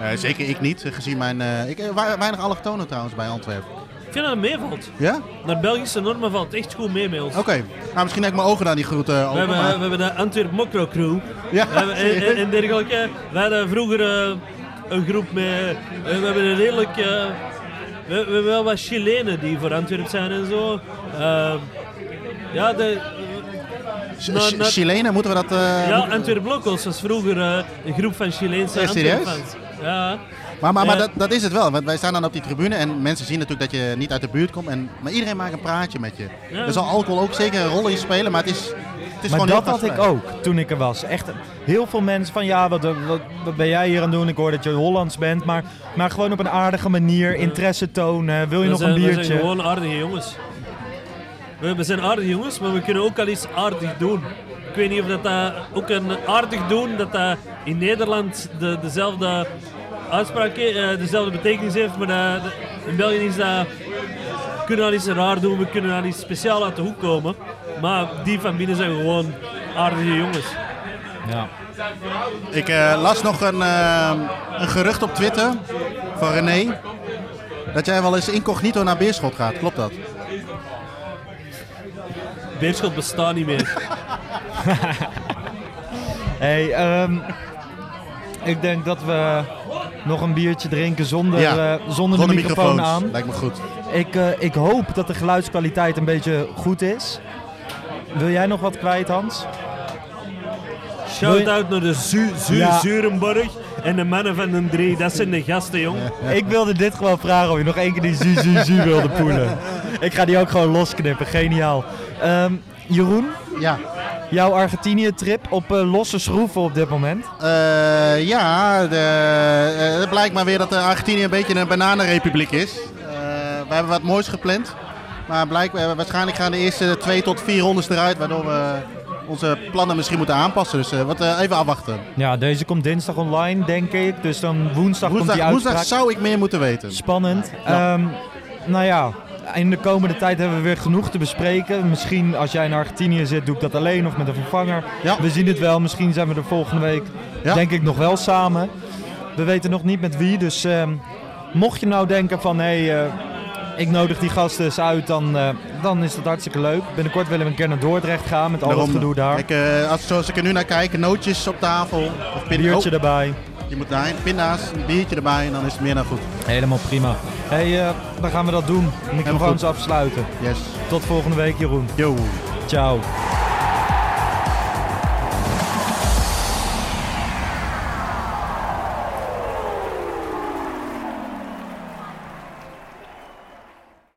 Eh, zeker ik niet, gezien mijn... eh, ik, eh, wa- weinig allochtonen trouwens bij Antwerpen.
Ik vind dat het meevalt.
Ja?
Naar Belgische normen valt echt goed mee met ons.
Oké. Nou, misschien heb ik mijn ogen daar niet goed eh,
We
open.
hebben, we
maar-
hebben de Antwerp Mokro Crew.
Ja,
We hebben- en, en, en dergelijke. We hadden vroeger eh, een groep met. eh, we hebben een redelijk. eh, we, we hebben wel wat Chilenen die voor Antwerp zijn en zo. Ehm, ja, de,
Ch-
nou,
Ch-
nou-
Chilenen, moeten we dat... eh,
ja,
moeten-
Antwerp Locals was vroeger eh, een groep van Chileense
Ja, serieus?
Antwerpfans. Ja.
Maar, maar, maar
Eh.
dat, dat is het wel, want wij staan dan op die tribune en mensen zien natuurlijk dat je niet uit de buurt komt. En, maar iedereen maakt een praatje met je.
Ja.
Er zal alcohol ook zeker een rol in spelen, maar het is, het is
Maar
gewoon
dat
heel
had ik
gastvrij.
ook toen ik er was. Echt heel veel mensen van ja, wat, wat, wat ben jij hier aan het doen? Ik hoor dat je Hollands bent, maar, maar gewoon op een aardige manier interesse tonen. Wil je nog
we zijn,
een
We zijn
biertje?
gewoon aardige jongens. We, we zijn aardige jongens, maar we kunnen ook al iets aardig doen. Ik weet niet of dat, dat ook een aardig doen, dat dat in Nederland de, dezelfde uitspraak, he- eh, dezelfde betekenis heeft, maar dat- dat- in België is dat, we kunnen al iets raar doen, we kunnen al iets speciaal uit de hoek komen. Maar die van binnen zijn gewoon aardige jongens.
Ja.
Ik eh, las nog een, eh, een gerucht op Twitter van René. Dat jij wel eens incognito naar Beerschot gaat, klopt dat?
Beerschot bestaat niet meer.
Hey, ehm, ik denk dat we nog een biertje drinken zonder,
Ja.
eh, zonder, de microfoon aan.
Lijkt me goed.
Ik, eh, ik hoop dat de geluidskwaliteit een beetje goed is. Wil jij nog wat kwijt, Hans?
Shout-out naar de Zu Zu
Ja.
Zurenborg en de mannen van de drie. Dat zijn de gasten, jong.
Ik wilde dit gewoon vragen of je nog één keer die zu zu zu wilde poelen. Ik ga die ook gewoon losknippen, geniaal. Ehm, Jeroen,
Ja,
jouw Argentinië-trip op eh, losse schroeven op dit moment.
Eh, ja de, eh, het blijkt maar weer dat eh, Argentinië een beetje een bananenrepubliek is. Eh, we hebben wat moois gepland. Maar blijk, eh, waarschijnlijk gaan de eerste twee tot vier rondes eruit. Waardoor we onze plannen misschien moeten aanpassen. Dus eh, wat, eh, even afwachten.
Ja, deze komt dinsdag online, denk ik. Dus dan woensdag, komt die
Woensdag,
uitspraak.
woensdag zou ik meer moeten weten.
Spannend. Ehm, nou ja, in de komende tijd hebben we weer genoeg te bespreken. Misschien als jij in Argentinië zit, doe ik dat alleen of met een vervanger.
Ja.
We zien het wel. Misschien zijn we er volgende week,
Ja.
denk ik, nog wel samen. We weten nog niet met wie. Dus ehm, mocht je nou denken van, hé, hey, eh, ik nodig die gasten eens uit, dan, eh, dan is dat hartstikke leuk. Binnenkort willen we een keer naar Dordrecht gaan met al dat
Daarom,
gedoe daar.
Kijk, eh, als, zoals ik er nu naar kijk, nootjes op tafel. Of pin-
Biertje
Oh,
erbij.
je moet daarheen. Pinda's, een biertje erbij en dan is het meer dan goed.
Helemaal prima. hey, eh, dan gaan we dat doen. Microfoons
goed.
afsluiten.
Yes.
Tot volgende week, Jeroen.
Yo.
Ciao.